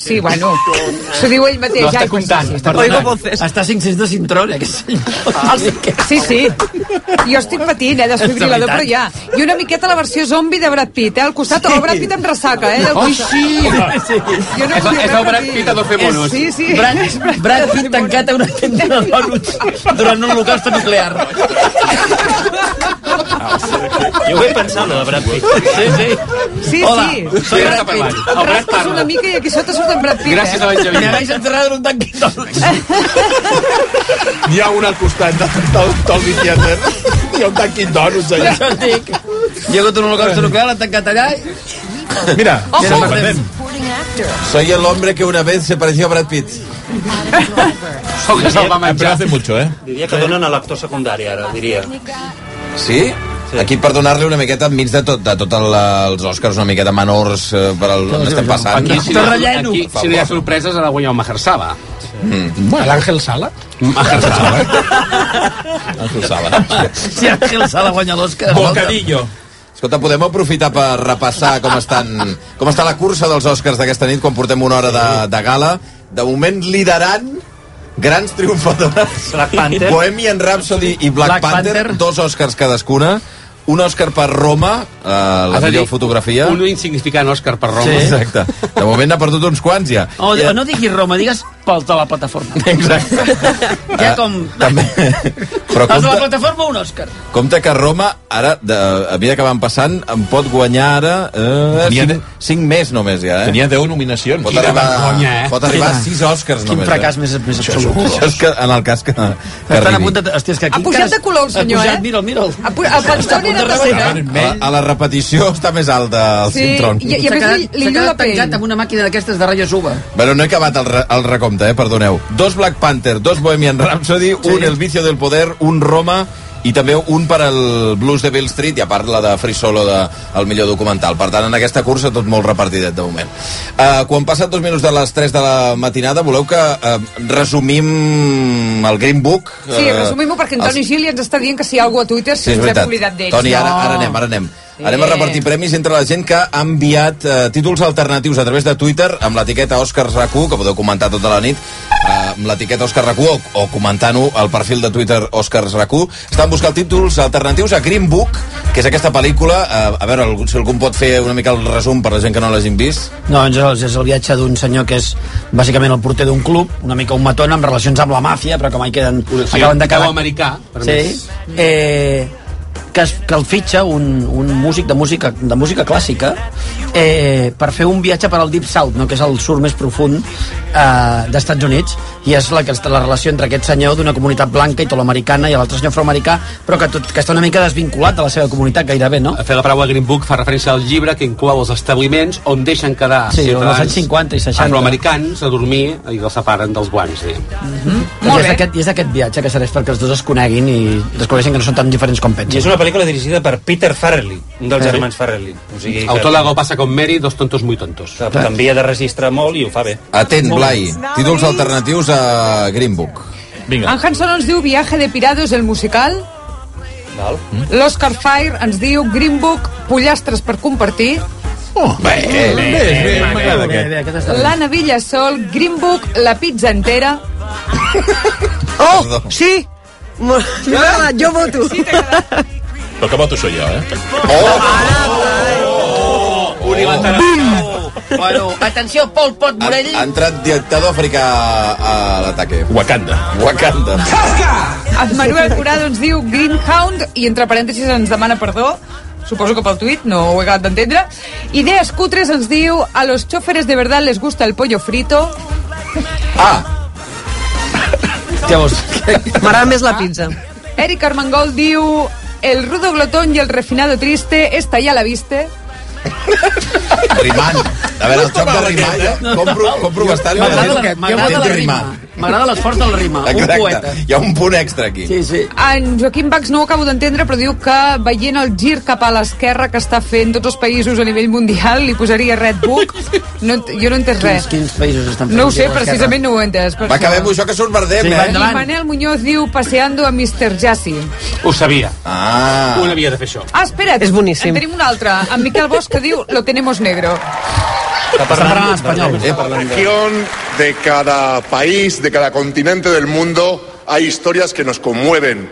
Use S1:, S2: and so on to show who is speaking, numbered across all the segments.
S1: Sí, bueno, s'ho diu ell mateix.
S2: No, està
S1: ai, pues sí,
S2: comptant.
S1: sí, Ah,
S2: Perdona,
S3: Oigo voces.
S4: Està a 500 de Cintrón, aquest senyor.
S1: Sí, sí. Jo estic patint, eh, desfibrilador, però ja. I una miqueta la versió zombi de Brad Pitt, eh, al costat. Sí. Oh, Brad Pitt em ressaca, eh?
S2: Ai, sí!
S1: Jo no
S2: És-
S1: volia
S2: és el
S1: veure
S2: Brad
S1: ni-
S2: Pitt a Doce Monos.
S1: Eh, Sí, sí.
S4: Brad,
S1: És Brad
S4: Brad Pitt tancat a una tenda de donuts durant un holocaust nuclear.
S5: Jo ho he pensat, lo de Brad Pitt.
S4: Sí, sí.
S1: Sí,
S4: Hola,
S1: sí.
S4: soy Brad
S2: Cap avall.
S4: Pitt.
S2: El Brad
S1: Raspes una
S2: parla.
S1: mica i aquí sota surt en Brad Pitt.
S2: Gràcies a
S1: eh?
S4: Me
S2: Benjamín.
S4: habéis enterrado en un Dunkin' Donuts.
S6: N'hi ha un al costat del, del, del Vicieter. Hi ha un Dunkin' Donuts allà.
S4: Doncs Això et dic. Hi ha hagut un holocaust nuclear, l'han tancat allà i...
S7: Mira,
S4: ja
S7: som-
S4: la perdem.
S8: Soy el hombre que una vez se pareció a Brad Pitt.
S2: Sóc que se'l va
S7: Pero
S2: menjar.
S7: hace mucho, ¿eh?
S5: Diria que donen a l'actor secundari, ara, diria.
S8: Sí? Aquí per donar-li una miqueta enmig de tot, de tots els Oscars, una miqueta menors eh, per al, on estem passant.
S2: Aquí, si no,
S4: relleno.
S2: aquí, si no hi ha sorpreses, ha de guanyar el Mahershala.
S7: Bueno, el Ángel Sala.
S2: Mahershala.
S8: eh? Àngel Sala.
S4: Si Ángel Sala guanya l'Òscar...
S7: Bocadillo.
S8: Escolta, podem aprofitar per repassar com, estan, com està la cursa dels Oscars d'aquesta nit quan portem una hora de, de gala. De moment liderant grans triomfadores.
S5: Black Panther.
S8: Bohemian Rhapsody i Black,
S4: Black
S8: Panther,
S4: Panther.
S8: dos Oscars cadascuna. Un Òscar per Roma, eh, la
S2: Has de
S8: millor
S2: dir,
S8: fotografia.
S2: Un insignificant Òscar per Roma. Sí.
S8: Exacte. De moment n'ha perdut uns quants ja.
S4: O,
S8: I-
S4: o no diguis Roma, digues pel de la plataforma.
S8: Exacte.
S4: Ja com...
S8: També. Però
S4: Els de la
S8: compte,
S4: plataforma, un Òscar.
S8: compte que Roma, ara, de, a mesura que van passant, en pot guanyar ara eh,
S7: Tenia de-
S8: 5, 5 més només ja, eh?
S7: Tenía de nominacions.
S8: Pot arribar,
S2: vergonya, eh?
S8: pot arribar a 6 Oscars
S4: Quin
S8: només.
S4: fracàs més, més absolut.
S8: eh? Això és que, en el cas que, que
S4: Estan a
S8: arribi.
S4: punt de... Hòstia, és que aquí
S1: Ha pujat
S4: encara-
S1: de color el senyor,
S4: ha pujat,
S1: eh?
S4: Mira'l, mira'l.
S1: A pu- El Pantoni era tercera.
S8: A la, a la repetició està més alt el
S1: Sí,
S8: sí, Cintron.
S1: i, i a
S4: S'ha
S1: més li,
S4: quedat,
S1: li
S4: s'ha
S1: llua la
S4: quedat tancat
S1: pell.
S4: amb una màquina d'aquestes de ratlles uva.
S8: Bueno, no he acabat el, re- el recompte, eh? perdoneu. Dos Black Panther, dos Bohemian Rhapsody, sí. un El Vicio del Poder, un Roma i també un per al Blues de Bill Street i a part la de Free Solo de, el millor documental. Per tant, en aquesta cursa tot molt repartidet de moment. Uh, quan passen dos minuts de les 3 de la matinada, voleu que uh, resumim el Green Book?
S1: Sí,
S8: Eh,
S1: resumim-ho perquè en Toni
S8: els-
S1: Gili ens està dient que si hi ha algú a Twitter
S8: Sí,
S1: si
S8: és
S1: ens hem
S8: veritat.
S1: oblidat d'ells.
S8: Toni, ara,
S1: No.
S8: ara anem, ara anem.
S1: Sí.
S8: Anem a repartir premis entre la gent que ha enviat eh, títols alternatius a través de Twitter amb l'etiqueta Òscar RAC1, que podeu comentar tota la nit, eh, amb l'etiqueta Òscar RAC1 o, o comentant-ho al perfil de Twitter Òscar RAC1. Estan buscant títols alternatius a Green Book, que és aquesta pel·lícula. Eh, a veure, algú- si algú em pot fer una mica el resum per la gent que no l'hagin vist.
S4: No, Àngels, és el viatge d'un senyor que és bàsicament el porter d'un club, una mica un matón amb relacions amb la màfia, però com ahí queden...
S2: sí, un peu americà, per
S4: sí.
S2: més.
S4: Eh, que, es, que el fitxa un, un músic de música, de música clàssica eh, per fer un viatge per al Deep South, no? que és el sur més profund eh, d'Estats Units, i és la, que està- la relació entre aquest senyor d'una comunitat blanca italoamericana i l'altre senyor afroamericà, però que, tot, que està una mica desvinculat de la seva comunitat gairebé, no?
S2: A fer la paraula Green Book fa referència al llibre que inclou els establiments on deixen quedar
S4: Sí, on
S2: ciutadans
S4: els anys 50 i 60.
S2: afroamericans a dormir i els separen dels guants. Sí.
S4: I és, aquest, I és aquest viatge que serveix perquè els dos es coneguin i descobreixin que no són tan diferents com
S5: I és
S4: pensen.
S5: una pel·lícula dirigida per Peter Farrelly, un dels
S4: Sí.
S5: germans Farrelly. O sigui, que,
S2: Autor d'Algo passa com Mary, dos tontos muy tontos.
S5: que canvia de registre molt i ho fa bé.
S8: Atent, Blai. Títols alternatius a Green Book.
S7: Vinga.
S1: En Hanson ens diu Viaje de Pirados, el musical.
S5: Val?
S1: L'Oscar Fire ens diu Green Book, pollastres per compartir.
S3: Oh.
S6: Eh,
S8: Bé, bé, bé, m'agrada aquest.
S4: aquest està bé.
S1: L'Anna Villasol, Green Book, la pizza entera.
S8: Perdó.
S3: Oh, Sí. M'ha agradat, jo voto. Sí,
S7: Però que voto soy jo, eh?
S9: Ah,
S4: Bueno, atenció, Pol Pot
S8: Ha,
S4: Morell.
S8: ha entrat dictador africà a l'ataque.
S7: Wakanda.
S8: Wakanda.
S1: En Manuel Curado ens diu Green Hound i entre parèntesis ens demana perdó suposo que pel tuit, no ho he acabat d'entendre. Idees Cutres ens diu a los choferes de verdad les gusta el pollo frito.
S8: Ah,
S4: Llavors, Ah.
S3: M'agrada més la pizza.
S1: Ah. Eric Armengol diu el rudo glotón y el refinado triste, esta ya la viste.
S8: rimant. A veure, el joc de rimar, jo compro, compro bastant. i
S4: m'agrada la,
S8: la gent
S4: m'agrada la
S8: intenta
S4: rima. M'agrada l'esforç de la rima. Un poeta.
S8: Exacte. Hi ha un punt extra aquí.
S4: Sí, sí.
S1: En Joaquim Bax no ho acabo d'entendre, però diu que veient el gir cap a l'esquerra que està fent tots els països a nivell mundial, li posaria Red Book. No, ent- jo no he entès
S4: Quins,
S1: res.
S4: quins països estan fent?
S1: No ho sé, precisament no ho he entès. Per
S8: Va,
S1: això.
S8: acabem això que surt verdem,
S4: Sí, va,
S8: eh?
S4: endavant.
S1: I Manel Muñoz diu Paseando a Mr. Jassy.
S2: Ho sabia.
S8: Ah,
S2: Un havia de fer això.
S1: Ah, espera't.
S3: És boníssim.
S1: En tenim un altre. En Miquel Bosch que diu Lo tenemos negro.
S5: Està
S4: parlant en espanyol.
S5: Està parlant de-
S10: región, de cada país, de cada continente del mundo, hay historias que nos conmueven.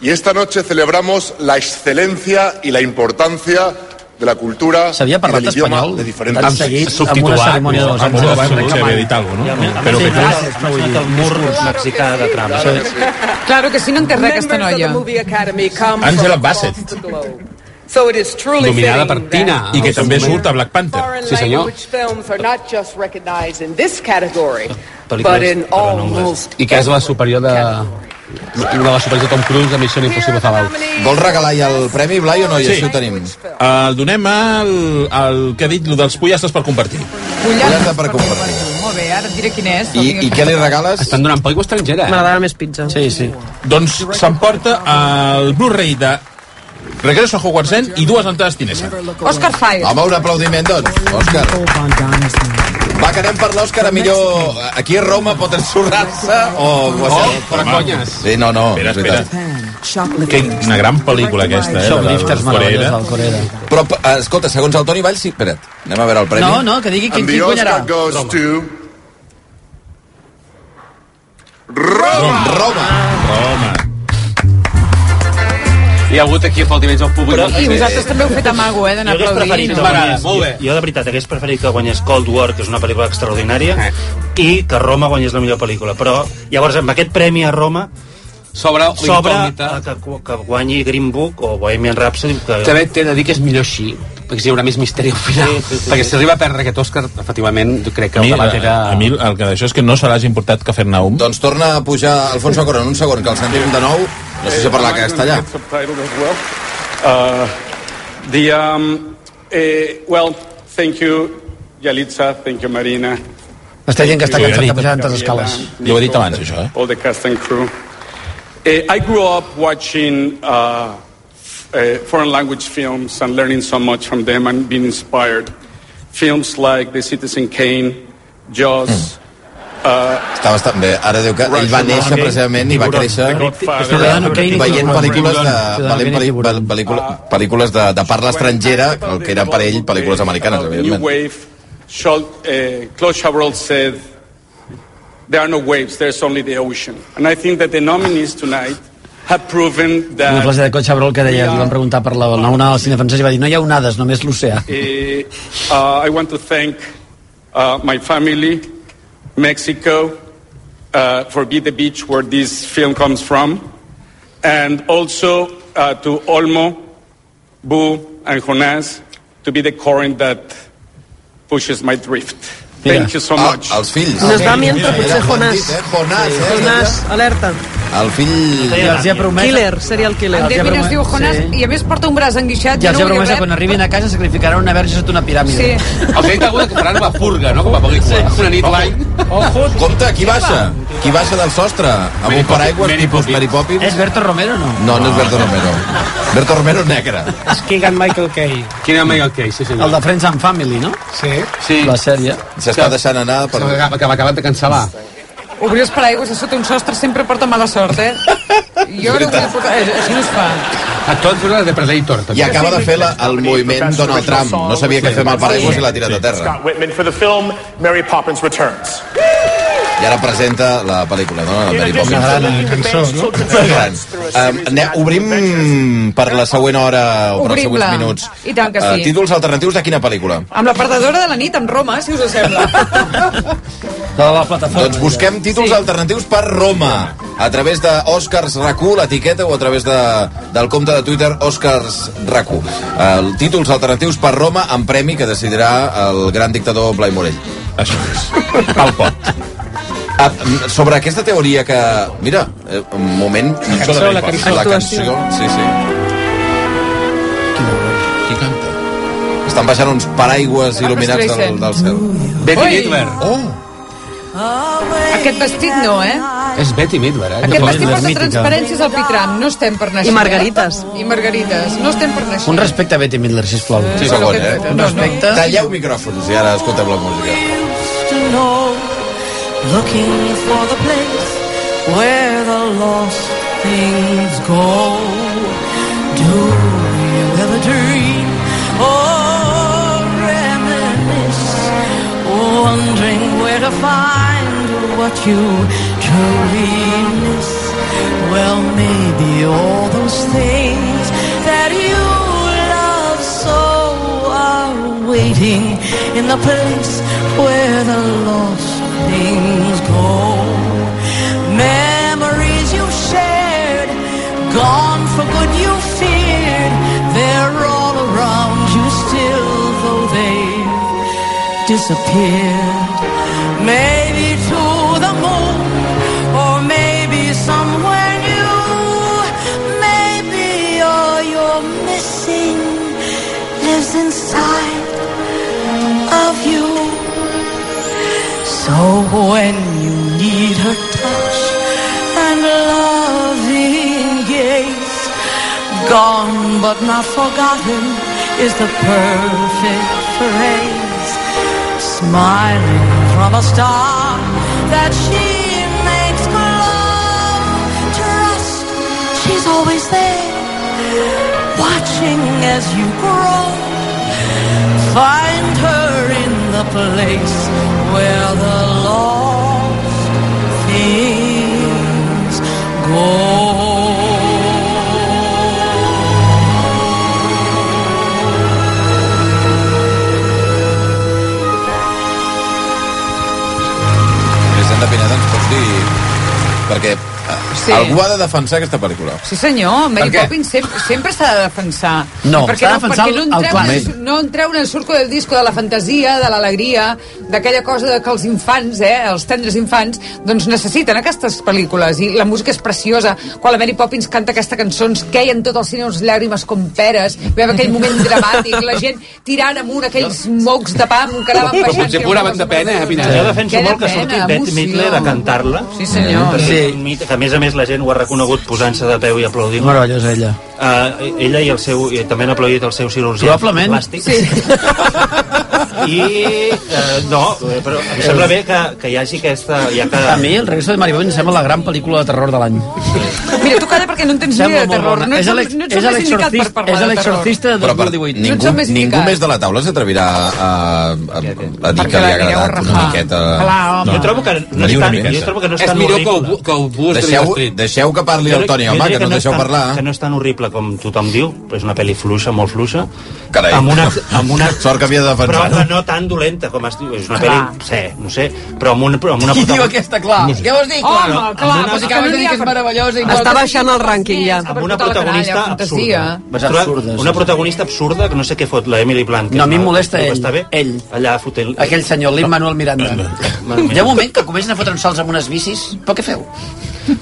S10: Y esta noche celebramos la excelencia y la importancia de la cultura
S4: S'havia
S10: y
S4: parlat
S10: del idioma
S4: espanyol
S10: de diferentes
S4: tan seguit amb una cerimònia de dos
S7: amb una
S4: anys. de
S7: cerimònia
S4: Barcelona.
S7: de dit alguna cosa, no?
S5: Però
S4: Sí,
S5: que
S4: clar,
S5: tu
S4: és
S5: m'ha sonat el mur mexicà de Trump. Sí.
S1: Claro que si no entenc res, aquesta noia.
S7: Angela Bassett.
S9: So it is truly
S2: Dominada
S9: fitting
S2: per Tina.
S9: that
S7: I que
S2: al seu
S7: també
S2: moment.
S7: surt a Black Panther.
S9: Foreign
S2: Sí, senyor.
S9: language films are not just recognized in this category,
S5: Pel·lícules
S9: but in
S5: parlen
S9: almost
S2: I que és la superior de... Una de les superiors de Tom Cruise de Missió Impossible Fallout.
S8: Vols regalar ja el premi, Blai, o no? I
S7: Sí. Eh,
S8: així ho tenim.
S7: El donem al, al que ha dit, lo dels pollastres per compartir.
S8: Pollastre per compartir.
S1: Molt bé, ara et diré quin és.
S8: I, i què li regales?
S2: Estan donant pel·lícula estrangera, eh?
S3: M'agrada més pizza.
S4: Sí, sí.
S7: Doncs s'emporta el Blu-ray de Regreso a Hogwarts End i dues entrades Tinesa.
S1: Oscar Fire.
S8: Home, un aplaudiment, doncs, Òscar. Va, que anem per l'Òscar, a millor... Aquí a Roma pot ensorrar-se o... o
S2: Oh, però conyes.
S8: Sí, no, no,
S7: Espera,
S8: és veritat.
S7: Que una gran pel·lícula aquesta, eh?
S4: Som
S7: de la-
S4: lifters
S7: Corea.
S4: meravelles del Corera.
S8: Però, p- eh, escolta, segons el Toni Valls, sí, espera't, anem a veure el premi.
S4: No, no, que digui quin,
S10: And the
S4: quin guanyarà.
S10: Oscar goes to... Roma!
S8: Roma.
S7: Roma.
S2: Hi ha hagut aquí aplaudiments al públic.
S1: I vosaltres també heu fet amago, eh, d'anar
S5: Jo hagués preferit
S1: aplaudint.
S5: que
S1: no?
S2: M'agrada,
S5: guanyés,
S2: molt
S5: jo,
S2: bé.
S5: jo de veritat hagués preferit que guanyés Cold War, que és una pel·lícula extraordinària,
S2: Eh.
S5: i que Roma guanyés la millor pel·lícula. Però llavors amb aquest premi a Roma
S2: Sobre
S5: sobre
S2: l'incògnita.
S5: que, que guanyi Green Book o Bohemian Rhapsody. Que...
S2: També t'he de dir que és millor així, perquè hi haurà més misteri al final.
S5: Sí, sí, sí.
S2: perquè si arriba a perdre aquest Òscar, efectivament, jo crec que
S7: A mi,
S2: el debat era...
S7: a mi el que d'això és que no se l'hagi importat Cafarnaum.
S8: Doncs torna a pujar Alfonso Corón, un segon, que el sentim de nou. No sé si parlar castellà.
S11: Subtitled as well. Uh, the um, eh, well, thank you, Yalitza. Thank you, Marina.
S4: M'està dient que està
S7: Sí, ja
S4: cansat de
S7: he dit.
S4: pujar tantes escales.
S7: Ja ho he dit abans, això, eh?
S11: All the cast and crew. Eh, I grew up watching uh, f- uh, foreign language films and learning so much from them and being inspired. Films like The Citizen Kane, Jaws.
S8: Hmm.
S11: uh,
S8: Està bastant bé. Ara diu que ell va néixer precisament i va créixer
S4: Ciudadano Kane i
S8: veient
S4: Tiburón.
S8: pel·lícules de,
S4: Ciudadano
S8: veient
S4: Kane i
S8: pel·lícula-
S4: Tiburón.
S8: pel·lícula- pel·lícules de, de parla estrangera, el que eren per ell pel·lícules americanes,
S11: New
S8: evidentment.
S11: wave, Schol- eh, Claude Chabrol said, there are no waves, there's only the ocean. And I think that the nominees tonight have proven that...
S4: Una classe de cotxe Brol que deia, li van preguntar per la, la onada del cine francès i va dir, no hi ha onades, només l'oceà.
S11: Eh, uh, I want to thank uh, my family, Mexico, uh, for being the beach where this film comes from, and also uh, to Olmo, Boo, and Jonas to be the current that pushes my drift. Thank you so
S8: Ah,
S11: much.
S8: els fills.
S3: Nos va miento,
S8: Era
S3: potser
S8: bon dit,
S3: Jonás.
S8: eh? Jonás, eh?
S3: Jonás, alerta.
S8: El fill...
S4: I els hi ha promès...
S3: Killer, seria el killer.
S1: En Devin es diu
S4: Sí.
S1: Jonas i a més porta un braç enguixat.
S4: I els hi ha
S1: vull
S4: promès que
S1: res.
S4: quan arribin a casa sacrificaran una verge sota una piràmide.
S1: Sí.
S2: Els he dit alguna que faran una purga, no? Com a pel·lícula. Una nit l'any.
S8: Compte, qui baixa? Qui baixa del sostre? Amb un paraigua
S2: Mary
S8: tipus
S2: Poppins.
S8: Mary Poppins?
S4: És Berto Romero o no?
S8: No, no és Berto Romero. Berto Romero és negre.
S2: Quin home el que sí
S4: El
S2: senyor.
S4: de Friends and Family, no?
S2: Sí,
S4: La sèrie.
S8: S'està deixant anar per...
S2: que que m'acaben de cancel·lar.
S1: Obrir els paraigües a sota un sostre sempre porta mala sort, eh? Jo no vull portar... eh, Així no es fa.
S2: A tots una de Predator,
S8: I
S2: també.
S8: acaba de fer la, el moviment Donald Trump. No sabia què fer amb el paraigua i l'ha tirat a terra.
S11: Whitman for the film Mary Poppins Returns.
S8: I ara presenta la pel·lícula, no? Mary Poppins. Gran. Um, ne, obrim per la següent hora o per els següents
S1: Obrim-la.
S8: minuts.
S1: I tant que sí.
S8: Eh, títols alternatius de quina pel·lícula?
S1: Amb la perdedora de la nit, amb Roma, si us sembla.
S4: De la plataforma.
S8: Doncs busquem títols alternatius per Roma a través de Oscars RAC1, l'etiqueta, o a través de, del compte de Twitter Oscars RAC1. Eh, títols alternatius per Roma amb premi que decidirà el gran dictador Blai Morell.
S7: Això és. Al pot.
S8: Ah, mm, sobre aquesta teoria que... Mira, eh, un moment... La cançó, la cançó. La cançó, sí, sí. Qui canta? Estan baixant uns paraigües il·luminats del,
S1: Streisand.
S8: del cel.
S2: Betty
S1: Ui!
S2: Midler.
S8: Oh!
S1: Aquest vestit no, eh?
S2: És Betty Midler, eh?
S1: Aquest
S4: Però
S1: vestit
S4: és
S1: porta
S4: mítica.
S1: transparències al pitram. No estem per naixer.
S3: I margarites.
S1: Eh? I margarites. No estem per naixer.
S4: Un respecte a Betty Midler, sisplau.
S8: Sí,
S1: Bueno,
S8: segon,
S1: que-
S8: eh?
S1: no, no.
S4: Respecte.
S8: Talleu micròfons i ara escoltem la música.
S9: Looking for the place where the lost things go. Do you ever dream or reminisce to find what you truly miss. Well, maybe all those things that you love so are waiting in the place where the lost things go. Memories you shared, gone for good you feared, they're all around you still, though they disappeared. Maybe to the moon, or maybe somewhere new. Maybe all you're missing lives inside of you. So when you need her touch and loving gaze, gone but not forgotten is the perfect phrase smiling from a star that she makes glove. Trust, she's always there, watching as you grow. Find her in the place where the lost things go.
S8: Vicenta Pineda, ens pots doncs, dir... Perquè eh,
S1: Sí.
S8: algú ha de defensar aquesta pel·lícula.
S1: Sí senyor, Mary
S8: Per què?
S1: Poppins sempre, sempre s'ha de defensar.
S8: No,
S1: perquè
S8: s'ha de defensar
S1: perquè no en
S8: el
S1: treuen,
S8: clàssic.
S1: no en treuen el surco del disco de la fantasia, de l'alegria, d'aquella cosa de que els infants, eh, els tendres infants, doncs necessiten aquestes pel·lícules i la música és preciosa. Quan la Mary Poppins canta aquesta cançó ens queien tot el cine uns llàgrimes com peres, veiem aquell moment dramàtic, la gent tirant amunt aquells mocs de pam que anaven
S7: Però
S1: baixant.
S7: potser
S1: i
S7: ploraven de pena, eh, Pineda?
S5: Jo defenso
S1: Queda
S5: molt que
S1: pena,
S5: surti Bette
S1: emoció.
S5: Midler a cantar-la.
S1: Sí, senyor.
S5: Perquè
S1: Sí.
S5: és un mite que, a més a més, la gent ho ha reconegut posant-se de peu i aplaudint.
S4: Meravellosa, ella.
S5: Uh, ella i el seu, i també han aplaudit el seu cirurgià
S4: Probablement.
S5: plàstic. Sí. I, uh, no, eh, però em sembla bé que, que hi hagi aquesta... Ja que...
S4: A mi, El regreso de Mary Poppins em sembla la gran pel·lícula de terror de l'any.
S1: Mira, tu calla perquè no en tens ni
S4: Sembla
S1: idea de
S4: molt
S1: terror.
S4: bona.
S1: No ets,
S4: És
S1: el,
S4: l'ex-
S1: no ets
S4: és
S1: el més indicat per
S4: l'exorcista-
S1: parlar
S4: és
S1: de terror.
S4: l'exorcista de
S8: Però, per,
S4: 2018. No
S8: ningú,
S4: ets el més
S8: ningú
S4: indicat.
S8: més de la taula s'atrevirà a, a, a, a, dir que li ha agradat una miqueta...
S5: Clar, home. Jo trobo que no
S8: Ni
S5: és
S8: una
S5: tan-
S8: miqueta.
S5: jo trobo que no és És tan millor que horrible. ho- que ho busqui
S8: Deixeu,
S5: al street.
S8: deixeu que parli
S5: Jo
S8: el
S5: crec-
S8: Toni,
S5: jo
S8: home,
S5: crec
S8: que no el
S5: és
S8: deixeu
S5: tan,
S8: parlar.
S5: Que no és tan horrible com tothom diu, però és una pel·li fluixa, molt fluixa.
S8: Carai.
S5: Amb una, amb una...
S8: Sort que havia de defensar.
S5: Però no tan dolenta com es diu. És una
S8: Clar.
S5: pel·li, sé, no sé, però amb una... Però amb una
S4: Qui diu aquesta, clar? No sé. Què vols dir, clar?
S5: Home,
S4: Amb
S5: clar,
S4: una-
S5: però és que
S4: acabes
S5: no
S4: de dir
S5: n'hi ha
S4: que és
S5: per-
S4: meravellosa i
S3: Està
S4: qual-
S3: baixant el rànquing ja.
S5: amb una
S4: tota
S5: protagonista absurda.
S4: Vas absurdes.
S5: Una protagonista absurda que no sé què fot, la Emily Blunt. que
S4: No, a mi
S5: és
S4: em
S5: una-
S4: molesta
S5: que
S4: ell.
S5: Està bé, ell. Allà fotent...
S4: Aquell senyor, l'Immanuel Miranda. Hi ha un moment que comencen a fotre uns salts amb unes bicis, però què feu?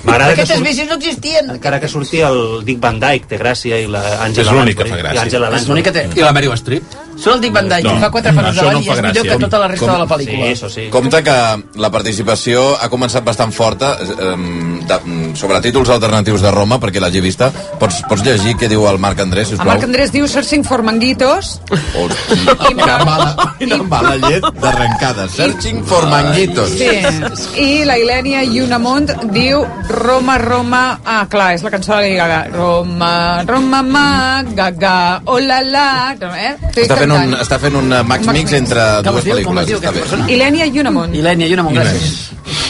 S5: M'agrada que,
S4: Aquestes
S5: surt,
S4: bicis no existien.
S5: encara que surti el Dick Van Dyke, té gràcia, i la Angela
S7: És l'únic que
S5: Lansbury,
S7: fa gràcia.
S5: i Angela
S7: És
S5: Lansbury.
S7: l'únic que té. I la Meryl Streep?
S4: Surt el Dick Van Dyke, no, fa quatre pares
S8: això no
S4: davant
S8: em
S4: i
S8: fa
S4: és millor
S8: gràcia.
S4: que tota la resta
S8: Com-
S4: de la pel·lícula.
S8: Sí,
S5: sí.
S8: Compte que la participació ha començat bastant forta eh, de, sobre títols alternatius de Roma, perquè l'hagi vista. Pots, pots llegir què diu el Marc Andrés,
S1: El
S8: sisplau?
S1: Marc Andrés diu Searching for Manguitos.
S8: Quina mala, quina mala llet d'arrencada. Searching for manguitos.
S1: Sí. I la Ilènia Llunamont diu Roma, Roma... Ah, clar, és la cançó de la Lady Gaga. Roma, Roma, ma, gaga, oh la la... Eh? Estic
S8: Està fent un,
S1: cantant.
S8: està fent un eh, max
S1: Max
S8: mix
S1: mix.
S8: entre
S4: Com
S8: dues
S4: es diu? Com es
S8: pel·lícules.
S4: diu
S8: Està bé.
S1: Ilènia Llunamont.
S4: Ilènia Llunamont, gràcies.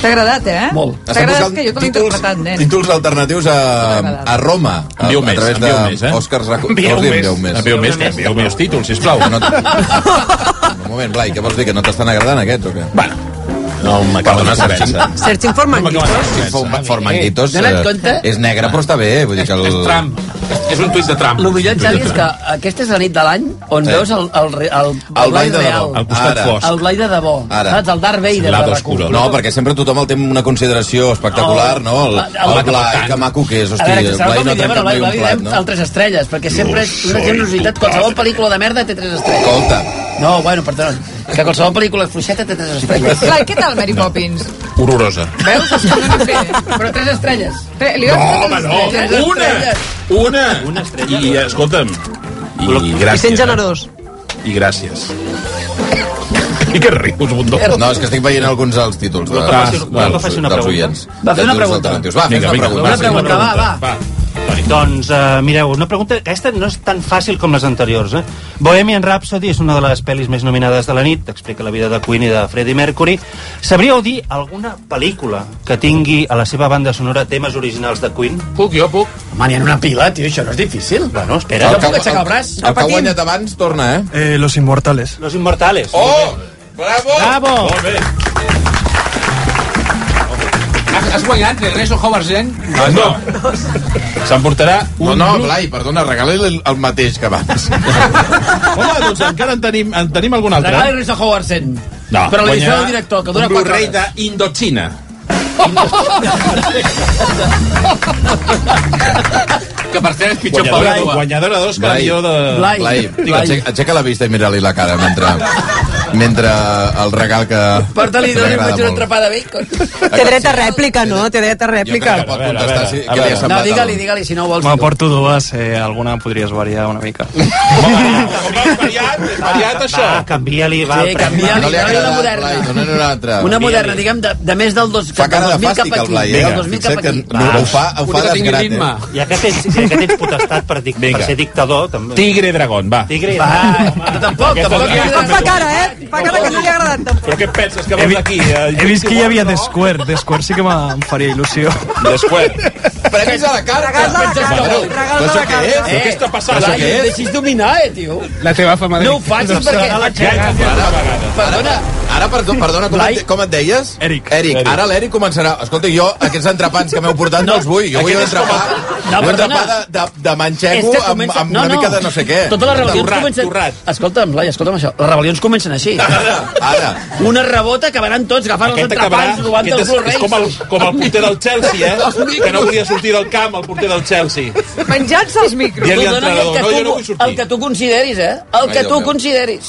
S1: T'ha agradat, eh?
S8: Molt.
S1: T'ha
S8: Estem
S1: agradat
S8: buscant
S1: que jo te l'he interpretat, nen.
S8: Títols alternatius a, a Roma. A,
S7: Envieu
S8: a
S7: més,
S8: través
S7: envieu més, eh?
S8: d'Òscars Racó.
S7: Envieu
S8: Jordi,
S7: més.
S8: envieu més.
S7: Envieu més, que envieu més títols, sisplau.
S8: Que No, un moment, Blai, què vols dir? Que no t'estan agradant aquests o què? Bueno, no m'acabo de saber.
S3: Searching for Manguitos.
S8: Formanguitos eh,
S4: Dona't compte?
S8: és negre, però està bé. Vull dir que el... És Trump. És un tuit de Trump.
S4: El millor, Xavi, és que aquesta és la nit de l'any on
S8: Sí.
S4: veus el, el, re- el,
S8: El Blai de
S4: real.
S8: debò. Al costat
S4: Ara.
S8: fosc.
S4: El Blai de debò.
S8: Ara.
S4: Saps? El Darth Vader. de RAC1.
S8: No, perquè sempre tothom el té amb una consideració espectacular,
S4: Oh,
S8: no? El,
S4: el-
S8: el,
S4: el-
S8: Blai, que maco que és,
S4: A
S8: hosti,
S4: veure, que
S8: el
S4: serà
S8: Blai
S4: com
S8: no ha
S4: li diem,
S8: trencat mai
S4: el
S8: un
S4: Blai
S8: plat,
S4: diem
S8: no?
S4: altres estrelles, perquè sempre és una generositat. Qualsevol pel·lícula de merda té tres estrelles.
S8: Escolta.
S4: No, bueno, perdó. Que qualsevol pel·lícula fluixeta té tres estrelles.
S1: Clar, què tal, Mary Poppins?
S7: Horrorosa.
S1: Veus? És que no n'hi sé.
S4: Però tres estrelles.
S1: Tre- Li
S7: No,
S1: dones totes les
S7: home, no!
S1: estrelles.
S7: Una! Una! Una estrella. I, escolta'm, i gràcies.
S3: I sent generós.
S7: eh? I gràcies. I que rius, Ah, bundó.
S8: No, és que estic veient alguns dels títols de,
S7: Voleu que faci-
S8: dels,
S7: voleu que faci una
S8: dels
S7: pregunta?
S8: oients.
S4: Va, fer una
S8: Dels
S4: pregunta.
S8: alternatius. Va, fes
S7: Vinga,
S8: una
S7: vinga,
S8: pregunta.
S7: una
S8: Va, fes
S7: pregunta,
S4: va, va.
S7: Va.
S5: Doncs uh, mireu, una pregunta... Aquesta no és tan fàcil com les anteriors, eh? Bohemian Rhapsody és una de les pel·lis més nominades de la nit, explica la vida de Queen i de Freddie Mercury. Sabríeu dir alguna pel·lícula que tingui a la seva banda sonora temes originals de Queen?
S7: Puc, jo puc.
S4: Home, n'hi ha una pila, tio, això no és difícil.
S5: Bueno, espera.
S4: Jo puc aixecar el braç.
S8: El que ha guanyat abans torna, eh?
S12: Eh, los Inmortales.
S5: Los Inmortales.
S8: Oh! Bravo!
S5: Bravo!
S7: Molt bé. Has, has guanyat Regreso Howard Zen? Ah, No, no. S'emportarà
S8: No, no, Blai, perdona, regala-li el- el mateix que abans.
S7: Home, doncs encara en tenim, en tenim algun altre. eh?
S4: Regala Regreso Howard Zen.
S7: No,
S4: Però l'edició
S7: guanyarà
S4: del director, que
S7: un
S4: dura 4
S7: Blu-ray
S4: hores.
S7: d'Indochina. que per cert és pitjor per
S8: Guanyadora-
S7: l'aigua. Guanyadora d'Òscar, millor de...
S8: Blai, Blai, aixeca, aixeca la vista i mira-li la cara mentre, mentre el regal que...
S4: Porta-li,
S8: que li
S4: doni
S8: agrada
S4: una
S8: molt.
S4: entrepada de bacon.
S3: Té dret a rèplica, no? Té dret a rèplica.
S8: Jo crec que
S5: eh?
S8: pot contestar si, què li ha
S4: No,
S8: semblat.
S4: digue-li, digue-li, si no ho vols.
S12: Me
S4: tu.
S12: porto dues, eh, alguna podries variar una mica.
S7: Variat,
S5: això. Va, canvia-li, va.
S4: Sí, canvia, li dona una moderna.
S8: Donen una altra.
S4: Una moderna, diguem, de, de més del, dos,
S8: Fa cara de
S4: 2000
S8: fàstic,
S4: cap
S8: el
S4: aquí.
S8: Blai, eh?
S4: Del 2000 cap
S8: Fixa't que
S4: aquí.
S8: no, ho fa, ho fa desgrat, eh?
S5: Ja que tens, ja que tens potestat per, dic, per
S7: Vinga.
S5: ser dictador, també.
S7: Tigre Dragón, va.
S5: Tigre.
S4: Va, tampoc, tampoc.
S3: Fa cara, eh? Fa cara que no li ha agradat tampoc.
S7: Però què et penses que veus aquí? eh,
S12: He vist que hi havia The Square. The Square sí que m'ha- em faria il·lusió.
S7: Después.
S8: Premis a la carta.
S4: Regala
S8: Però això què és?
S4: Eh,
S7: què està passant?
S4: Blai,
S7: Això què
S4: em
S7: és?
S4: deixis dominar, eh, tio.
S12: La teva fama de...
S4: No ho facis perquè... Perdona,
S8: Ara, perdó, perdona, com, et, com et deies?
S12: Eric.
S8: Eric, ara l'Eric començarà... Escolta, jo aquests entrepans que m'heu portat no els vull. Jo vull un entrepà,
S4: No,
S8: un
S4: perdona.
S8: entrepà de, de, de manxego amb, amb una mica de no Tota sé què.
S4: Totes les rebel·lions
S7: Torrat,
S4: Tota comencen...
S7: torrat.
S4: Escolta'm, Blai, escolta'm això. Les rebel·lions comencen així.
S8: Ara, ara.
S4: Una rebota que van tots agafant els
S7: Aquest acabarà...
S4: entrepans, robant
S7: Aquest és,
S4: els
S7: és com, el,
S4: Blu-rays.
S7: com el porter del Chelsea, eh? Que no volia sortir del camp, el porter del Chelsea.
S1: Menjant-se els micros.
S7: Dient-li
S4: Tu
S7: a
S4: dona el
S7: l'entrenador,
S4: que
S7: no, jo no
S4: tu-
S7: vull sortir.
S4: El que tu consideris, eh?
S8: Ai,
S4: El que
S8: Déu
S4: tu
S8: meu.
S4: consideris.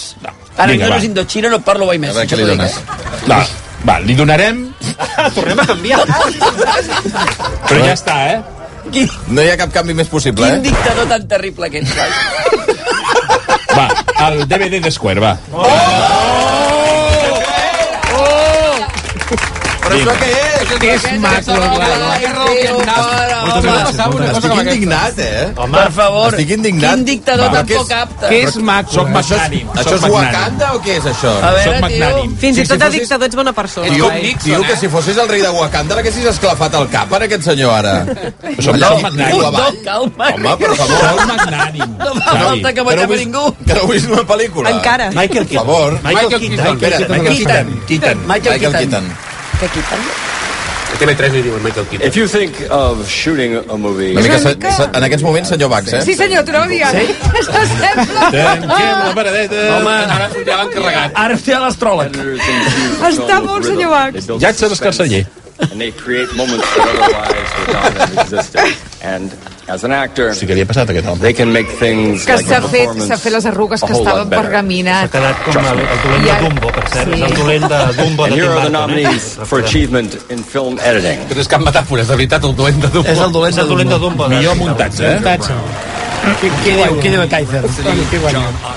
S4: Ara
S7: Vinga,
S4: no dones
S7: va.
S4: Indochina, no parlo mai més.
S8: A veure què li
S4: això t'ho dic,
S8: dones.
S4: eh?
S7: Va, va, li donarem... Tornem a canviar. Però ja està, eh?
S4: Quin,
S8: No hi ha cap canvi més possible,
S4: quin
S8: eh?
S4: dictador tan terrible que ets, Blai.
S7: Va, el DVD de Square, va. Oh!
S8: Però això què és?
S4: És maco,
S8: Ah,
S7: Moltes gràcies,
S4: Blai.
S7: moltes gràcies.
S8: Estic indignat, eh?
S4: Per favor,
S8: Estic indignat.
S4: quin dictador
S8: Va,
S4: tan
S8: que és-
S4: poc apte.
S7: és maco. Soc
S8: Això és,
S7: magnànim.
S8: això és
S7: soc magnànim.
S8: Wakanda o què és això?
S4: A veure,
S7: Soc
S4: tio.
S7: magnànim.
S3: Fins i
S8: Si- si
S3: tot a
S8: fossis-
S3: dictador ets bona persona.
S8: Tio,
S7: com Nixon,
S8: tio,
S7: eh?
S8: que si fossis el rei de Wakanda l'haguessis esclafat al cap en aquest senyor ara.
S7: Som
S8: Allà,
S7: tots magnànims.
S8: riu
S4: No,
S8: avall.
S4: calma.
S8: Home, per
S7: Soc
S8: favor.
S7: magnànim.
S4: No fa
S7: Xavi.
S4: falta que
S8: Que no
S4: matem
S8: vull-
S4: ningú.
S8: Que no vull una pel·lícula.
S3: Encara.
S5: Michael
S8: Per favor.
S5: Michael
S7: Keaton.
S8: Espera, Michael Keaton.
S7: Keaton.
S4: Michael
S8: Michael
S4: Keaton.
S8: Keaton.
S3: Que aquí també.
S7: TV3 li diuen Michael Keaton.
S13: If you think of shooting a movie,
S8: Una mica, se- se- en aquests moments, senyor Bax, eh?
S1: Sí, senyor, t'ho anava dient.
S7: Tanquem la paradeta. Home, ara sortirà l'encarregat.
S4: Ara té l'astròleg.
S1: Està molt, senyor Bax.
S7: Llàtzer Escarceller.
S13: and they create moments that otherwise would not have existed. And as an actor,
S7: Sí que li ha passat aquest home.
S13: they can make things
S1: Que
S13: like
S1: s'ha
S13: a
S1: fet, s'ha
S13: performance
S1: fet les arrugues
S13: a
S1: que
S13: whole lot
S1: estaven
S13: better.
S5: S'ha
S1: pergaminat.
S5: quedat com el, el dolent de Dumbo, per cert. És el dolent de Dumbo
S13: And
S5: de
S13: here
S5: Tim
S13: are the
S5: Burton. eh?
S13: nominees for achievement in film editing.
S7: Però és cap metàfora, és de veritat, el dolent de Dumbo.
S4: És el dolent
S5: És el dolent de Dumbo. de-
S7: Millor muntatge, eh?
S4: Què diu? Què diu Kaiser?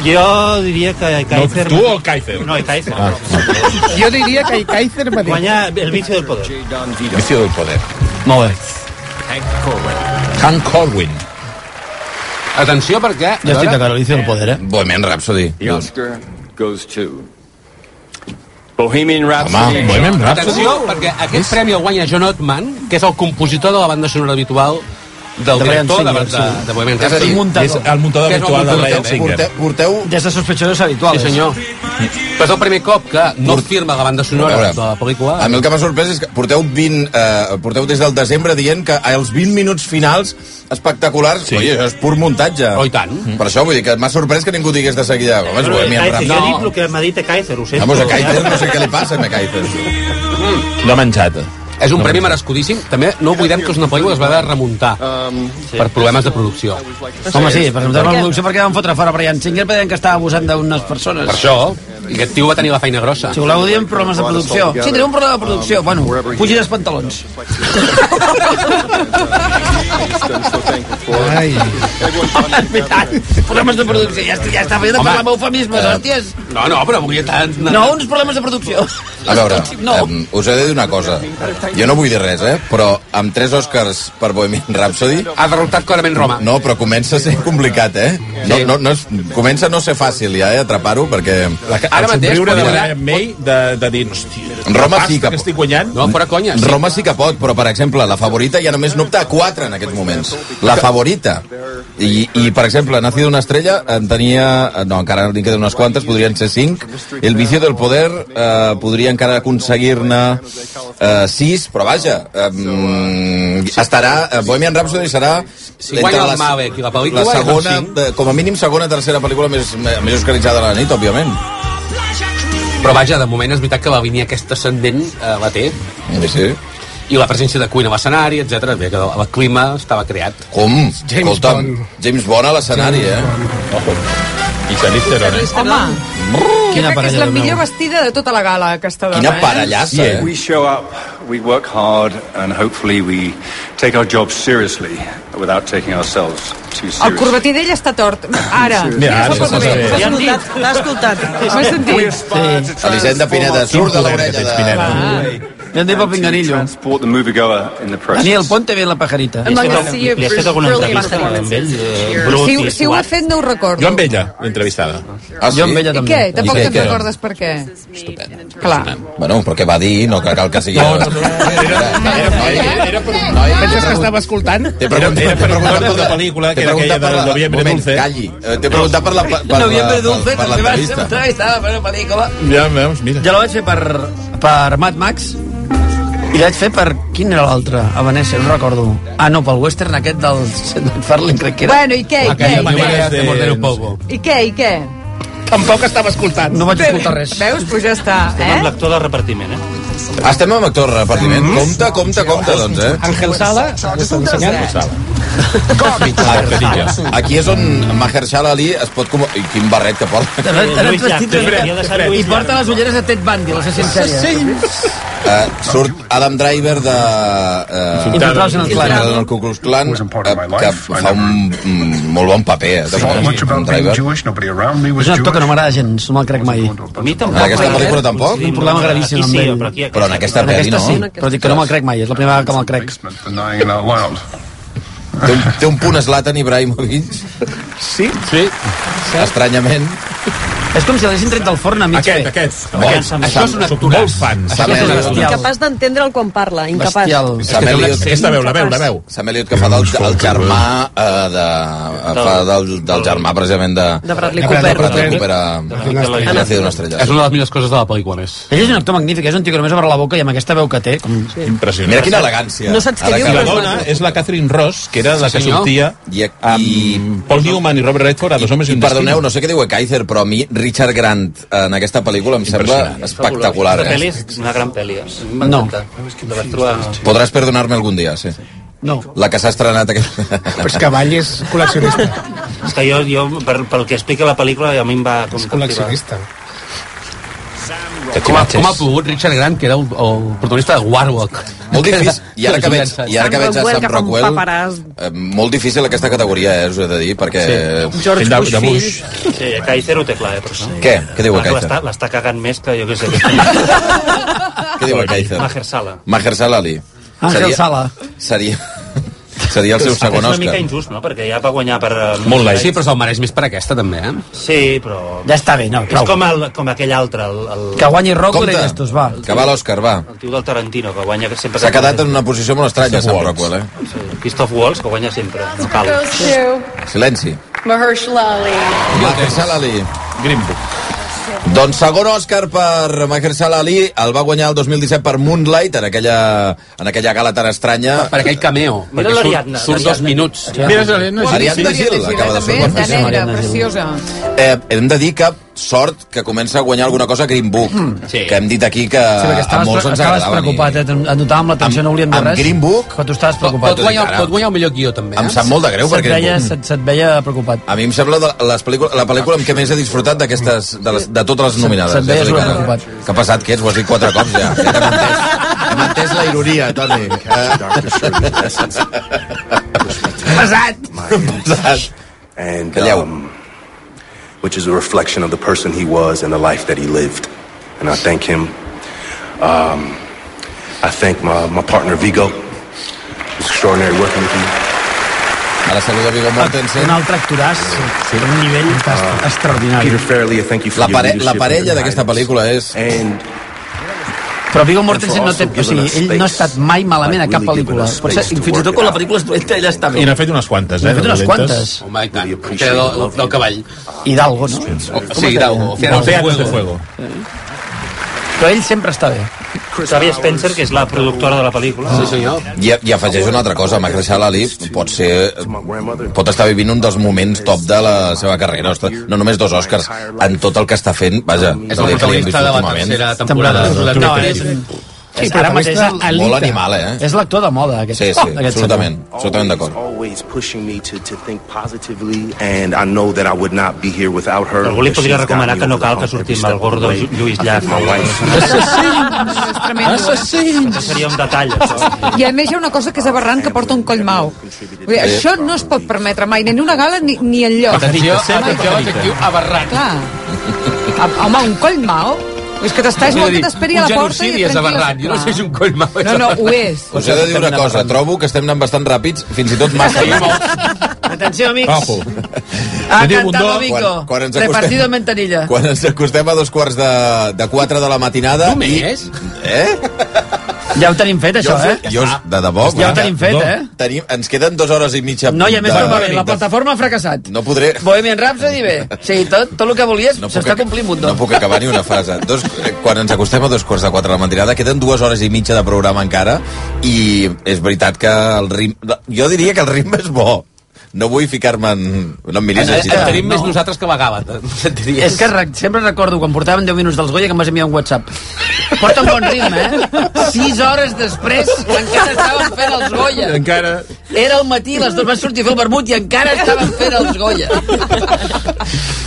S5: Jo diria que Kaiser...
S7: tu o Kaiser?
S5: No, Kaiser.
S8: Ah,
S12: Jo diria que Kaiser va
S5: Guanyar el vicio del poder.
S7: Vicio del poder.
S4: Molt bé.
S7: Hank Corwin. Atenció, perquè...
S4: Jo estic d'acord, l'Icio del Poder, eh?
S8: Bohemian Rhapsody.
S13: The Oscar goes to Bohemian Rhapsody.
S8: Home, Bohemian Rhapsody.
S14: Atenció, perquè aquest premi el guanya John Ottman, que és el compositor de la banda sonora habitual del
S4: De Bryan
S14: director de,
S4: Singer,
S14: de, de Bohemian
S8: És a
S14: Rhapsody.
S8: dir,
S7: És el muntador
S14: Que és el
S7: habitual de
S14: muntador
S7: Ryan Singer.
S8: Porteu, porteu
S4: Des de sospechoses habituals.
S14: Sí, senyor. Però és el primer cop que no firma la banda
S8: A
S14: sonora
S8: veure,
S14: de la pel·lícula.
S8: A mi el que m'ha sorprès és que porteu 20... Eh, porteu des del desembre dient que els 20 minuts finals espectaculars... Sí.
S7: Sí.
S8: Oi, això és pur muntatge.
S14: Oh, i tant.
S8: Per això vull dir que m'ha sorprès que ningú digués de seguida... Home, és Bohemian
S14: eh,
S5: Kaiser, jo
S8: Rhapsody.
S5: dic el que m'ha dit a Kaiser, ho sento.
S8: Vamos, a Kaiser no sé què li passa, a Kaiser.
S7: No ha menjat.
S14: És un premi merescudíssim. També no oblidem que és una pel·lícula que es va haver de remuntar per problemes de producció.
S4: Home, sí, per exemple, la producció perquè van fotre fora Brian Singer perquè deien que estava abusant d'unes persones.
S14: Per això, aquest tio va tenir la feina grossa.
S4: Si voleu, diem problemes de producció. Sí, tenim un problema de producció. Bueno, pugi dels pantalons.
S12: Ai.
S4: Problemes de producció. Ja, està- ja està fent de parlar amb eufemismes, hòsties.
S14: No, Eh. no, però volia tant...
S4: No, uns problemes de producció.
S8: A veure, em, us he de dir una cosa. Jo no vull dir res, eh? Però amb tres Oscars per Bohemian Rhapsody...
S14: Ha derrotat clarament Roma.
S8: No, però comença a ser complicat, eh? No, no, no és, comença a no ser fàcil ja, eh? Atrapar-ho, perquè...
S7: Ara mateix... El somriure de la Brian May de, de dir, hòstia,
S8: Roma sí que...
S7: que estic guanyant...
S8: No, fora conya. Sí. Roma sí que pot, però, per exemple, la favorita ja només n'opta a 4 en aquests moments. La favorita. I, i per exemple, Nacido una estrella eh, en tenia... No, encara n'hi queden unes quantes, podrien ser 5. El vicio del poder eh, podria encara aconseguir-ne eh, 6, però vaja, eh, estarà... Eh, Bohemian Rhapsody serà...
S14: Si guanya
S8: entre
S14: el Maverick i la pel·lícula,
S8: La
S14: és el
S8: segona,
S14: cinc.
S8: eh, com a mínim segona, tercera pel·lícula més, més oscaritzada de la nit, òbviament.
S14: Però vaja, de moment és veritat que la línia aquesta ascendent eh, la té.
S8: Sí, sí.
S14: I la presència de cuina a l'escenari, etc. Bé, que el el clima estava creat.
S8: Com? James Escolta'm, Bond. James Bond a l'escenari, eh? Ojo. I Charlize
S1: eh?
S8: Theron,
S5: eh?
S1: Home,
S8: Quina
S1: crec que és
S8: parella
S1: la
S8: de
S1: millor vestida de tota la gala, aquesta dona. eh?
S13: Yeah. We show up, we work hard, and hopefully we take our job seriously without taking ourselves too
S1: El
S13: seriously.
S1: corbatí d'ell està tort. Ara.
S13: Mira,
S1: Mira,
S13: ara
S1: s'ha
S13: s'ha
S1: portat bé.
S13: sentit.
S1: S'ha
S13: Ja hem dit.
S1: escoltat, L'ha escoltat. M'ha
S13: We
S1: sentit.
S13: aspire to transform
S8: Elisenda Pineda,
S13: our
S8: surt de
S13: job
S8: l'orella de-
S4: Ja en diu pel pinganillo.
S13: Transport the moviegoer in the process.
S4: Daniel, ponte bien la pajarita.
S1: Li has fet algun- li has fet alguna entrevista amb
S7: ell?
S1: Si, si ho ha fet no ho recordo.
S7: Jo amb ella, entrevistada.
S8: Ah, sí? Jo amb ella
S1: I què? Tampoc te'n recordes per què? Clar.
S8: Bueno, però què va dir? No cal, cal que sigui... No, no, no.
S6: Penses que estava escoltant?
S8: T'he preguntat, era,
S7: per una altra pel·lícula, que era aquella de Noviembre Dulce.
S8: Calli. Eh, T'he preguntat per la... Per, per,
S4: Noviembre
S8: la-
S4: dulce,
S8: per- per
S4: perquè vas ser
S8: l'entrevista.
S4: entrevistada per una pel·lícula.
S7: Ja veus, mira.
S4: Ja la vaig fer per, per Mad Max i la vaig fer per... Quin era l'altre? A Venècia, no recordo. Ah, no, pel western aquest del Seth MacFarlane, crec que era.
S1: Bueno, i
S7: Ah,
S1: què, i què, i què?
S4: de morder un poco.
S1: I què, i què?
S6: Tampoc estava escoltant.
S4: No vaig escoltar res.
S1: Veus? Pues ja està, eh?
S5: l'actor de repartiment, eh?
S8: Estem amb actor de
S4: Mm-hmm.
S8: repartiment. Compte, compte, compte, doncs, eh?
S12: Ángel Sala, estan ensenyant?
S8: Aquí és on Mahershala Ali es pot... Com... I quin barret que porta.
S4: Ara ara ets vestit de... I porta les ulleres de Ted Bundy, l'assassí en sèrie.
S8: Eh, surt Adam Driver de... Eh,
S4: Infiltrados en el Clan.
S8: Infiltrados en el Ku Klux Klan, eh, que fa un mm, molt bon paper, eh, de moment, Adam Driver.
S4: És un actor que no m'agrada gens, no me'l crec mai.
S5: A mi
S8: En aquesta pel·lícula tampoc?
S4: Tinc eh? un problema gravíssim amb ell.
S8: Però en aquesta
S4: En
S8: pel·li
S4: aquesta
S8: no.
S4: sí, però dic que no me'l crec mai, és la primera vegada que me'l crec.
S8: Té un, té un punt Zlatan Ibrahimovic.
S6: Sí?
S8: Sí. Estranyament.
S4: És com si l'haguessin tret del forn a mig Aquest, aquest.
S8: Això és un actoràs. Molt fan. Sam Elliott.
S3: Incapaç d'entendre'l quan parla, incapaç.
S8: Sam Elliott.
S7: Aquesta veu, la veu, la veu.
S8: Sam Elliott que fa del, el germà eh, de... eh, Fa del, del germà precisament de...
S3: De Bradley
S8: de
S3: Cooper.
S8: Bradley Cooper a... a Nacido una estrella.
S14: És una de les millors coses de la pel·lícula, més.
S4: Ell és un actor magnífic, és un tio que només obre la boca i amb aquesta veu que té... Com...
S7: Impressionant.
S8: Mira quina elegància.
S4: No saps què
S7: Ara que
S4: diu,
S7: La
S4: però és
S7: dona
S4: maco.
S7: és la Catherine Ross, que era la
S8: Sí, eh,
S7: que
S8: senyor.
S7: sortia
S8: I,
S7: amb Paul Newman i Robert Redford a Dos homes i
S8: I
S7: un
S8: perdoneu, no sé què diu a Kaiser, però a mi Richard Grant en aquesta pel·lícula em sembla espectacular.
S5: Aquesta pel·li
S8: Eh?
S5: és una gran pel·li. eh?
S8: No.
S5: La vaig trobar...
S8: Podràs perdonar-me algun dia, sí.
S4: No.
S8: La que s'ha estrenat aquest... Però
S14: Pues
S6: és que Vall és col·leccionista.
S5: És que jo, jo per, pel que explica la pel·lícula, a mi em va... Com és
S6: col·leccionista.
S14: Com ha, com ha plogut Richard Grant, que era el, el protagonista de Warlock.
S8: Molt difícil. I ara que veig, i ara que veig a Sam Rockwell,
S3: paperàs.
S8: eh, molt difícil aquesta categoria, eh, us he de dir, perquè...
S5: Sí.
S8: Fill de- de Bush.
S5: Sí, a Kaiser ho té clar, eh, però sí.
S8: Què? Què diu a
S5: Clar que
S8: Kaiser?
S5: l'està- L'està cagant més que jo què sé.
S8: Què diu a Kaiser?
S5: Mahershala.
S8: Mahershala Ali.
S5: Ángel
S8: Seria-
S5: Sala.
S8: Seria, seria el seu
S5: Aquest
S8: segon
S5: És una
S8: Òscar.
S5: mica injust, no? Perquè ja va guanyar per... eh,
S14: Molt light. Sí, però se'l mereix més per aquesta, també, eh?
S5: Sí, però...
S4: Ja està bé, no,
S5: És
S4: prou.
S5: com, el, com aquell altre, el, el...
S4: Que guanyi Rockwell i estos, va.
S8: Que va l'Òscar, va.
S5: El tio del Tarantino, que guanya que sempre...
S8: S'ha quedat en una posició molt estranya, Sam Rockwell, eh?
S5: Sí, Christoph Waltz, que guanya sempre. No cal.
S15: Goes to
S8: Silenci.
S15: Mahershala Ali.
S8: Mahershala Ali. Green Doncs segon Òscar per Mahershala Ali, el va guanyar el 2017 per Moonlight, en aquella, en aquella gala tan estranya.
S14: Per aquell cameo.
S8: Mira
S14: perquè
S8: l'Ariadna,
S14: Surt, surt dos
S8: l'Ariadna.
S14: minuts.
S8: Mira l'Ariadna Gil. Ariadna Gil, acaba de
S1: També
S8: sortir.
S1: està negra,
S8: Mariana Gil.
S1: preciosa.
S8: Eh, hem de dir que sort que comença a guanyar alguna cosa Green Book, sí. que hem dit aquí que
S4: Sí,
S8: a
S4: perquè estaves,
S8: molts ens
S4: estaves
S8: agradava.
S4: preocupat, eh? Et notàvem l'atenció, no volíem dir
S8: amb
S4: res.
S8: Green Book...
S4: Però tu estaves preocupat.
S8: pot guanyar- pot
S14: guanyar el millor guió, també.
S8: Em sap molt de greu, perquè-
S4: Se't veia, se't, se't veia preocupat.
S8: A mi em sembla de les pel·lícules, la pel·lícula amb què més he disfrutat d'aquestes, de, les, de totes les nominades. eh,
S4: se't veia
S8: t'ho dic
S4: super
S8: ara.
S4: preocupat.
S8: Que ha passat, que ets? Ho has dit quatre cops ja. Ja t'hem entès. Hem entès la ironia, Toni. Eh.
S4: Pesat!
S8: Pesat.
S13: And
S8: Calleu.
S13: um,
S16: which is a reflection of the person he was and the life that he lived. And I thank him. Um, I thank my, my partner Vigo. It's extraordinary working with you.
S8: Ara saluda Viggo Mortensen.
S4: Un altre actoràs sí. d'un nivell
S8: Ah.
S4: uh, extraordinari.
S16: Peter Fairley, I thank you for
S8: La,
S16: your
S8: pare
S16: leadership
S8: la
S16: and
S8: parella
S16: your
S8: d'aquesta
S16: guidance.
S8: pel·lícula és...
S4: Però Viggo Mortensen no té... O sigui, ell no ha estat mai malament a cap pel·lícula. Potser, fins i tot quan la pel·lícula és dolenta, ell està bé.
S7: I n'ha fet unes quantes, eh?
S4: N'ha fet
S7: de
S4: unes
S7: dolentes.
S4: quantes.
S14: Home, i tant. Que era del, del cavall.
S4: Hidalgo, no?
S14: Sí, Hidalgo. Océanos de
S7: Océanos de
S14: Fuego.
S4: Però ell sempre està bé.
S5: Xavi Spencer, que és la productora de la pel·lícula. Sí, senyor.
S8: I, I afegeix una altra cosa, Mahershala Ali pot ser... pot estar vivint un dels moments top de la seva carrera. Ostres, no només dos Oscars, en tot el que està fent, vaja...
S14: És el protagonista de la tercera temporada. de True
S4: No, és...
S14: Detective.
S4: Sí, ara mateix
S8: protagonista
S4: el-
S8: molt animal, eh?
S4: És l'actor de moda, aquest.
S8: Sí, sí,
S4: aquest
S8: absolutament,
S4: senyor.
S8: absolutament d'acord.
S16: Always pushing me to, to think positively and I know that I would not be here without her.
S5: Algú li
S16: She's
S5: podria
S16: got
S5: recomanar
S16: me
S5: que no
S16: over the
S5: cal
S16: hump
S5: que
S16: every
S5: sortim
S16: step
S5: el gordo
S16: of the way.
S5: Lluís
S16: I
S5: Llach.
S16: thank my
S1: Tremendo. eh?
S5: Això seria un detall, això.
S1: I a més hi ha una cosa que és aberrant que porta un collmau. Vull dir, això no es pot permetre mai, ni en una gala ni, ni enlloc.
S14: Atenció, atenció a l'adjectiu aberrant.
S1: Clar. Ah, Home, un collmau? És que t'estàs molt que t'esperi a la porta i
S14: Un genocidi és aberrant. Jo no sé si un coll mal és
S1: No, no, ho
S14: aberrant.
S1: és.
S8: Us he de dir una cosa, trobo que estem anant bastant ràpids, fins i tot massa ràpids.
S4: Atenció, amics.
S8: Ojo.
S4: Ha
S8: Que diu
S4: cantado
S8: Bundó,
S4: Vigo.
S8: quan- quan ens acostem-
S4: Repartido en ventanilla.
S8: Quan ens acostem a dos quarts de, de quatre de la matinada...
S4: Només?
S8: I, eh?
S4: Ja ho tenim fet, això,
S8: jo,
S4: eh?
S8: Jo, de debò...
S4: Ja ho tenim fet, eh?
S8: Tenim, ens queden dues hores i mitja...
S4: No, i a més,
S8: de-
S4: no va bé. La
S8: de-
S4: plataforma ha fracassat.
S8: No podré...
S4: Bohemian Rhapsody, bé. Sí, tot, tot el que volies
S8: No puc
S4: s'està
S8: ac-
S4: complint, Bundó.
S14: doncs.
S8: No puc acabar ni una frase. Dos, eh, quan ens acostem a dos quarts de quatre de la matinada, queden dues hores i mitja de programa encara, i és veritat que el rim... Jo diria que el ritme és bo. No vull ficar-me en... No em miris
S14: Eh,
S8: així.
S14: eh, Tenim més
S4: No.
S14: nosaltres que la gala. et diria.
S4: És que rec- sempre recordo, quan portàvem 10 minuts dels Goya, que m'has enviat un WhatsApp. Porta un bon ritme, eh? 6 hores després encara estaven fent els Goya.
S7: Encara...
S4: Era el matí, les dues van sortir a fer el vermut i encara estaven fent els Goya.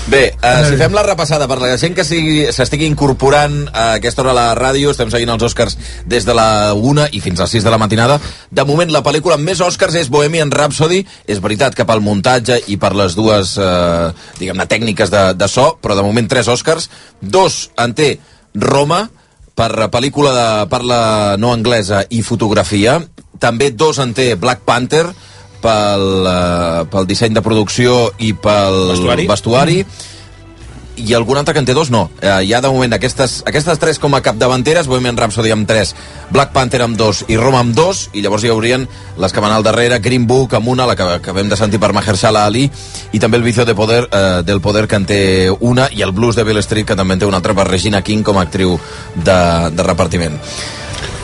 S8: Bé, eh, si fem la repassada per la gent que sigui- s'estigui incorporant a aquesta hora a la ràdio, estem seguint els Oscars des de la 1 i fins a les 6 de la matinada. De moment, la pel·lícula amb més Oscars és Bohemian Rhapsody. És veritat que pel muntatge i per les dues, eh, diguem-ne, tècniques de, de so, però de moment tres Oscars. Dos en té Roma, per pel·lícula de parla no anglesa i fotografia. També dos en té Black Panther, pel, eh, pel disseny de producció i pel
S7: Vestuari.
S8: vestuari i algun altre que en té dos no. Eh, hi ha de moment aquestes, aquestes tres com a capdavanteres, Bohemian Rhapsody amb tres, Black Panther amb dos i Roma amb dos, i llavors hi haurien les que van al darrere, Green Book amb una, la que acabem de sentir per Mahershala Ali, i també el Vicio de Poder, eh, del Poder que en té una, i el Blues de Bill Street que també en té una altra per Regina King com a actriu de, de repartiment.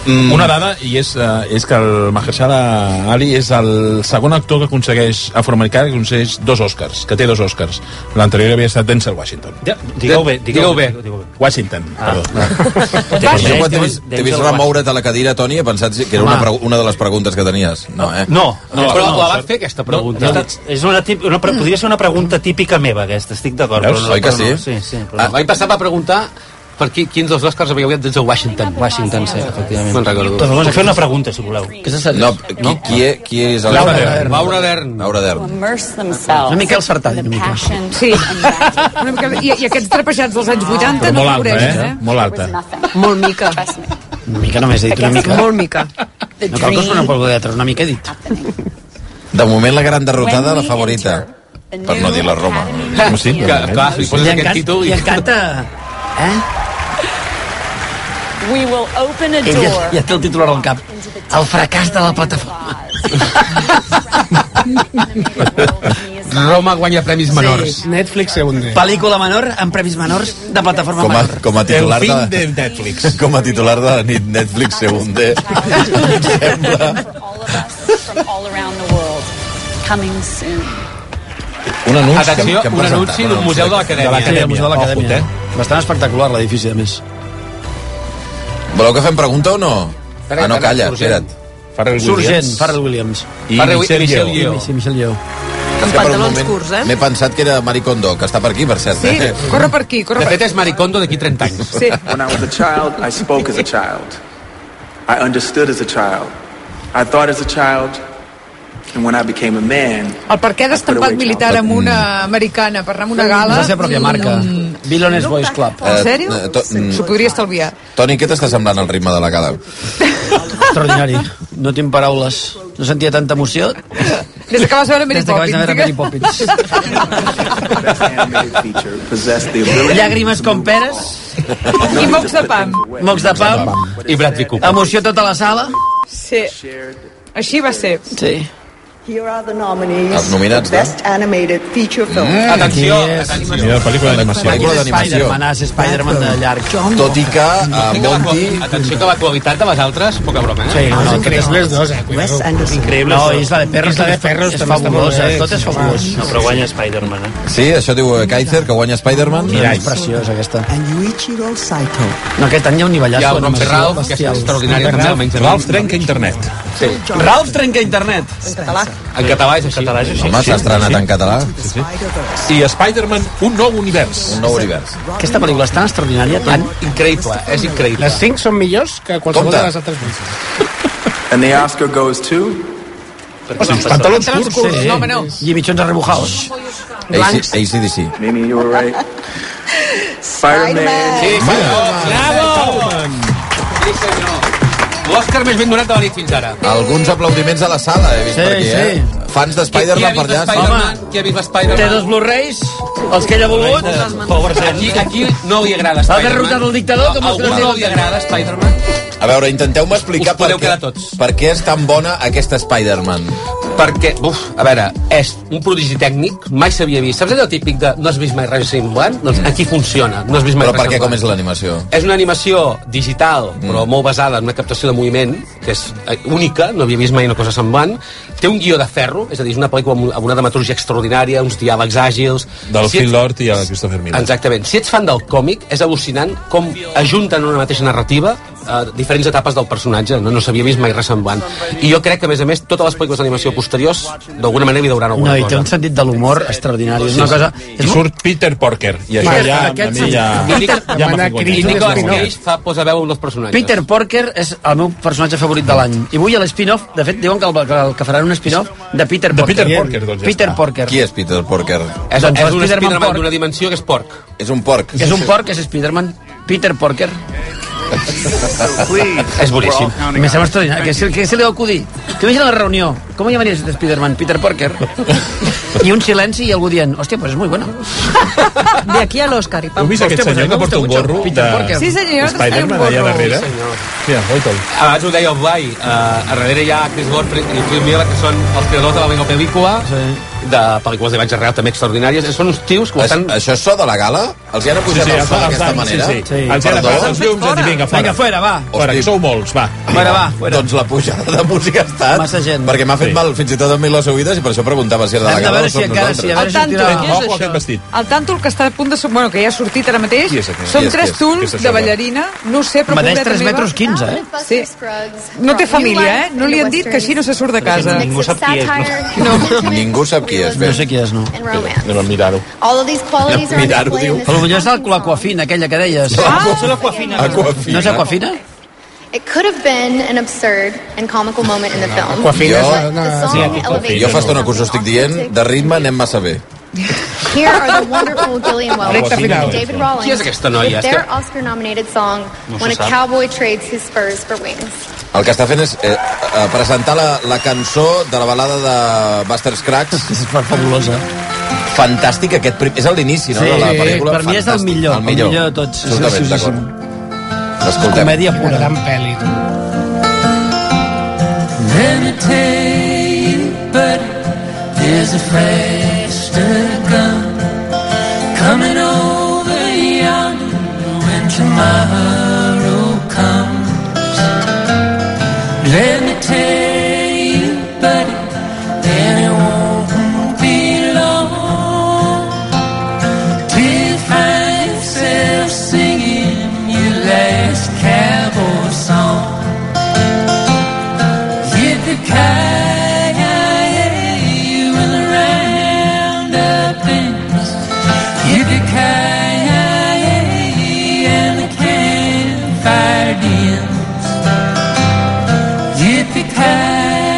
S7: Mm. Una dada, i és, eh, és que el Mahershala Ali és el segon actor que aconsegueix afroamericà que aconsegueix dos Oscars, que té dos Oscars. L'anterior havia estat Denzel Washington.
S5: Ja, Digueu bé, digueu bé. digueu bé.
S7: Washington, ah. perdó.
S8: Jo quan T'he vist, t'he vist remoure't a la cadira, Toni, he pensat que era una,
S5: Home.
S8: pregu- una de les preguntes que tenies. No, eh?
S5: No, no,
S14: Però
S5: no,
S14: la
S5: no,
S14: vas fer, aquesta pregunta.
S5: No, és- és una tip, una, pre- podria ser una pregunta típica meva, aquesta, estic d'acord.
S8: Veus?
S5: però no-
S8: Oi que
S5: però no,
S8: sí?
S5: sí, sí, però
S14: Ah,
S5: no.
S14: L'any passat va preguntar per qui, quins dels Oscars havia guanyat des de Doncs Washington. Washington, sí, efectivament. Me'n
S5: Doncs
S14: recordo.
S5: vamos a fer una pregunta, si voleu.
S8: No, qui, qui, és- qui és el...
S14: Laura Dern. Laura Dern.
S8: Laura Dern.
S17: immerse themselves
S4: Una mica el Sartall,
S17: in
S4: una
S17: the
S4: mica.
S17: passion
S1: Sí. Una mica, i, I aquests trepeixats dels anys 80
S7: Però
S1: no
S7: molt alta,
S1: t'avoreixen,
S7: eh? Molt alta.
S17: Molt mica.
S4: Una mica només he dit, una mica.
S3: Molt mica.
S4: No cal que us una pel lletres, una mica he dit.
S8: De moment, la gran derrotada, la favorita. Per no dir la Roma.
S14: Com sí, que, clar, li poses
S4: I
S14: aquest
S4: encanta,
S14: títol
S4: i
S14: i...
S4: encanta... Eh?
S17: We will open a
S4: Ell ja,
S17: door.
S4: ja té el titular al cap. El fracàs de la plataforma.
S14: Roma guanya premis menors.
S4: Sí. Netflix se hunde. Pel·lícula menor amb premis menors de plataforma
S8: Com a,
S4: menor.
S8: com a titular
S7: El fin
S8: de...
S7: de Netflix.
S8: Com a titular de la nit Netflix se hunde.
S17: All of us from all around the world. Coming soon.
S8: Un anunci
S14: Atenció, un anunci d'un museu de
S4: Sí,
S14: l'acadèmia.
S4: el Museu de l'Acadèmia.
S8: eh?
S4: Bastant espectacular l'edifici, a més.
S8: Voleu que fem pregunta o no? Ah, no, calla,
S14: Urgent.
S8: espera't.
S7: Farrell
S4: Surgent,
S7: Williams.
S4: Farrell Williams.
S7: I
S14: Farrell-
S7: Michelle
S14: Michelle
S7: Yeoh.
S14: Yeoh.
S4: Sí, Michel Lleó.
S8: És que per un moment M'he pensat que era Maricondo, que està per aquí, per cert.
S1: eh? Sí,
S8: eh?
S1: corre per aquí, corre
S14: De
S1: per aquí.
S14: fet, és Maricondo d'aquí 30 anys.
S1: Sí.
S18: When I was a child, I spoke as a child. I understood as a child. I thought as a child.
S16: And when I became a man,
S1: El per què d'estampat militar amb una americana per anar a una gala...
S4: És la seva pròpia marca.
S8: Vilones Boys Club.
S1: En sèrio?
S8: Eh, to- mm.
S1: S'ho podria estalviar.
S8: Toni, què t'està semblant el ritme de la gala?
S4: Extraordinari. No tinc paraules. No sentia tanta emoció.
S1: Des que vas veure Mary
S4: Des que vaig veure Mary Poppins.
S16: possessed the
S4: Llàgrimes com peres.
S1: I mocs de pam.
S4: Mocs de pam.
S14: I Bradley Cooper.
S4: Emoció tota la sala.
S1: Sí. Així va ser.
S4: Sí.
S19: Here are the nominees
S8: Els nominats,
S19: for Best Animated Feature Film.
S8: Mm, atenció, atenció.
S7: Millor pel·lícula d'animació.
S8: Pel·lícula d'animació.
S4: Spider-Man,
S7: ah,
S4: és Spider-Man de llarg.
S8: Tot i que a
S14: eh,
S8: Monty...
S14: Atenció que la qualitat de les altres, poca broma, eh?
S4: Sí, no, no, aquest és
S14: increïble.
S4: les dos, eh?
S19: Wes Anderson.
S20: Increïble.
S4: No, Isla de Perros,
S20: Isla de
S4: és
S20: Perros també està molt
S4: fabulosa,
S20: bé.
S4: tot és fabulós.
S20: No, però guanya Spider-Man, eh?
S8: Sí, això diu eh, Kaiser, que guanya Spider-Man.
S4: Mira, és preciosa aquesta.
S19: And Yuichiro Saito.
S4: No, aquest any hi ha un nivellàs.
S14: Hi ha el Ron Ferral, que és extraordinari també, almenys.
S7: Ralf trenca internet.
S14: Sí.
S4: Ralf trenca internet.
S14: En català és així.
S20: Català és així.
S8: Home, s'ha estrenat en català.
S7: I Spider-Man, un nou univers.
S8: Un nou univers.
S4: Aquesta pel·lícula és tan extraordinària, tan...
S14: Increïble, és increïble.
S21: Les 5 són millors que qualsevol
S8: Compte.
S21: de les altres 8.
S16: And the Oscar goes to...
S14: Doncs
S1: Pantalons curts, sí. no, home, no.
S4: eh? I mitjons arrebujados.
S8: AC- ACDC.
S16: Mimi, you were right. Spider-Man.
S14: Sí, senyor. Bravo! Sí, senyor. L'Òscar més ben donat de la nit fins ara.
S8: Alguns aplaudiments a la sala, he vist
S4: Sí,
S8: per aquí, eh?
S4: sí.
S8: Fans de
S14: Qui ha
S8: Spider-Man per
S14: vist
S8: allà.
S14: Spider-Man? Qui ha vist
S4: Té dos
S14: Spider-Man?
S4: Blu-rays, els que ell ha volgut.
S14: Aquí, aquí no li agrada
S4: Ha
S14: Spider-Man.
S4: derrotat el dictador, com
S14: A
S4: els que
S14: algú no li agrada Spider-Man?
S8: A veure, intenteu-me explicar
S14: Us
S8: per
S14: podeu
S8: què,
S14: quedar tots.
S8: per què és tan bona aquesta Spider-Man.
S14: Perquè, buf, a veure, és un prodigi tècnic, mai s'havia vist. Saps allò típic de no has vist mai res semblant? Doncs aquí funciona, no has vist mai
S8: Però
S14: res
S8: per què com
S14: semblant.
S8: és l'animació?
S14: És una animació digital,
S7: Mm.
S14: però molt basada en una captació de moviment, que és eh, única, no havia vist mai una cosa semblant. Té un guió de ferro, és a dir, és una pel·lícula amb un- amb una dramaturgia extraordinària, uns diàlegs àgils...
S7: Del
S14: Si
S7: Phil
S14: ets-
S7: Lord i el Christopher Miller.
S14: Exactament. Si ets fan del còmic, és al·lucinant com ajunten en una mateixa narrativa eh, diferents etapes del personatge. No, no s'havia vist mai res semblant. I jo crec que, a més a més, totes les pel·lícules d'animació posteriors, d'alguna manera, hi veuran alguna
S4: No, i té un
S14: cosa.
S4: sentit de l'humor extraordinari. És una cosa...
S7: I surt Peter Porker. I això
S21: Aquest-
S7: ja, a
S21: aquest
S7: mi ja...
S14: I Nic-
S7: Ja m'ha
S21: Demanar
S7: fet
S14: I
S21: crits
S7: guanyar.
S14: Nicolas
S21: Spin-off.
S14: Cage fa posar veu a un dels personatges.
S4: Peter Porker és el meu personatge favorit de l'any. I avui a l'espin-off, de fet, diuen que, el, que, el, que faran un spin-off de Peter
S7: De
S4: Porker.
S7: Peter Porker, doncs ja
S4: Peter
S7: està.
S4: Porker.
S8: Qui és Peter Porker?
S14: És,
S4: Doncs
S14: és
S4: el
S14: un
S4: Spider-Man
S14: Spider-Man
S4: porc.
S14: d'una dimensió que és porc.
S8: És un porc.
S4: És un porc, és Spider-Man. Peter Porker.
S14: És boníssim.
S4: Me sembla extraordinari. Què se, que se li va acudir? Tu imagina la reunió. Com llamaries de Spider-Man? Peter Porker. I un silenci i algú dient, hòstia, pues és molt bona.
S22: De aquí a l'Òscar i pam.
S7: Heu vist aquest senyor que porta un gorro de
S4: Porker.
S1: Sí, senyor,
S7: Spider-Man
S1: té un
S7: allà
S1: gorro.
S7: darrere? Mira, oita'l.
S14: Ah, Abans ho deia el Blai, eh, a darrere hi ha Chris Lord i Chris Miller, que són els creadors de la mega pel·lícula, de pel·lícules d'imatge real també extraordinàries. Són uns tios que ho
S8: Això,
S14: estan...
S8: això és so de la gala? Els hi han
S7: Sí,
S8: apujat
S7: sí,
S8: el
S7: els
S8: so d'aquesta
S7: han... Sí,
S8: manera?
S7: sí. Els han
S8: Perdó?
S7: apagat els llums i han dit, vinga, fora.
S4: Vinga, fuera, va.
S7: Fora, que
S8: Hosti.
S7: sou molts, va.
S4: Fuera, va, fuera.
S8: Doncs la pujada de música ha estat...
S4: Massa gent.
S8: Perquè m'ha fet
S7: Sí.
S8: mal fins i tot a mi les oïdes i per això preguntava si era de
S4: Hem
S8: la
S4: de
S8: gala
S4: veure
S8: o
S4: si
S8: som
S4: encara... Si a
S8: nosaltres.
S4: veure si
S1: El
S4: tira...
S1: tanto.
S7: Ojo aquest vestit.
S1: El tàntol que està a punt de... sor- Bueno, que ja ha sortit ara mateix.
S7: Qui és aquest?
S1: Són
S8: Qui és,
S1: tres
S8: qui és?
S1: tuls
S7: Aquesta és
S1: de
S7: la-
S1: ballarina. No ho sé, però...
S4: Medeix
S1: pobreta
S4: 3
S1: meva-
S4: metres 15, eh?
S1: Sí. No té família, eh? No li han dit que així no se surt de casa.
S20: Ningú sap qui és,
S15: No.
S8: Ningú sap qui és, bé.
S4: No sé qui és, no.
S7: Anem a mirar-ho.
S15: All of these qualities are on
S8: Mirar-ho,
S15: display in
S8: diu.
S15: this
S4: Però potser és la, la
S15: coffee.
S4: coafina, aquella que deies.
S20: Potser la coafina.
S8: Aquafina.
S4: No és aquafina?
S15: It could have been an absurd and comical moment in the film.
S21: Aquafina
S8: Jo-
S21: és una...
S15: The
S21: Sí,
S15: song elevates
S8: Jo fa estona que us ho estic dient, de ritme anem massa bé.
S15: Here are the wonderful Gillian Welch
S7: Recta final.
S15: and David Rawlings
S14: Qui és aquesta noia?
S15: with their Oscar-nominated song
S20: No
S15: When a
S20: se sap.
S15: Cowboy Trades His Spurs for Wings.
S8: El que està fent és eh, eh, presentar la, la cançó de la balada de Buster Scruggs.
S4: És fabulosa.
S8: Fantàstic aquest prim... És a l'inici, no?
S4: Sí,
S8: de la pel·lícula.
S4: per mi és el
S8: Fantàstic.
S4: millor, el
S8: millor.
S4: millor de tots.
S8: Absolutament,
S4: Sí, sí, sí, sí.
S8: d'acord. L'escoltem.
S4: Comèdia
S21: Una
S4: pura.
S21: gran pel·li.
S2: Meditate, but there's a flash to the gun coming over yonder when tomorrow comes. Let me tell you, buddy, that it won't be long till you find yourself singing your last cowboy song. Yippee-ki-yay, we'll round up things. Yippee-ki-yay, and the campfire dims. Yippee-ki-yay,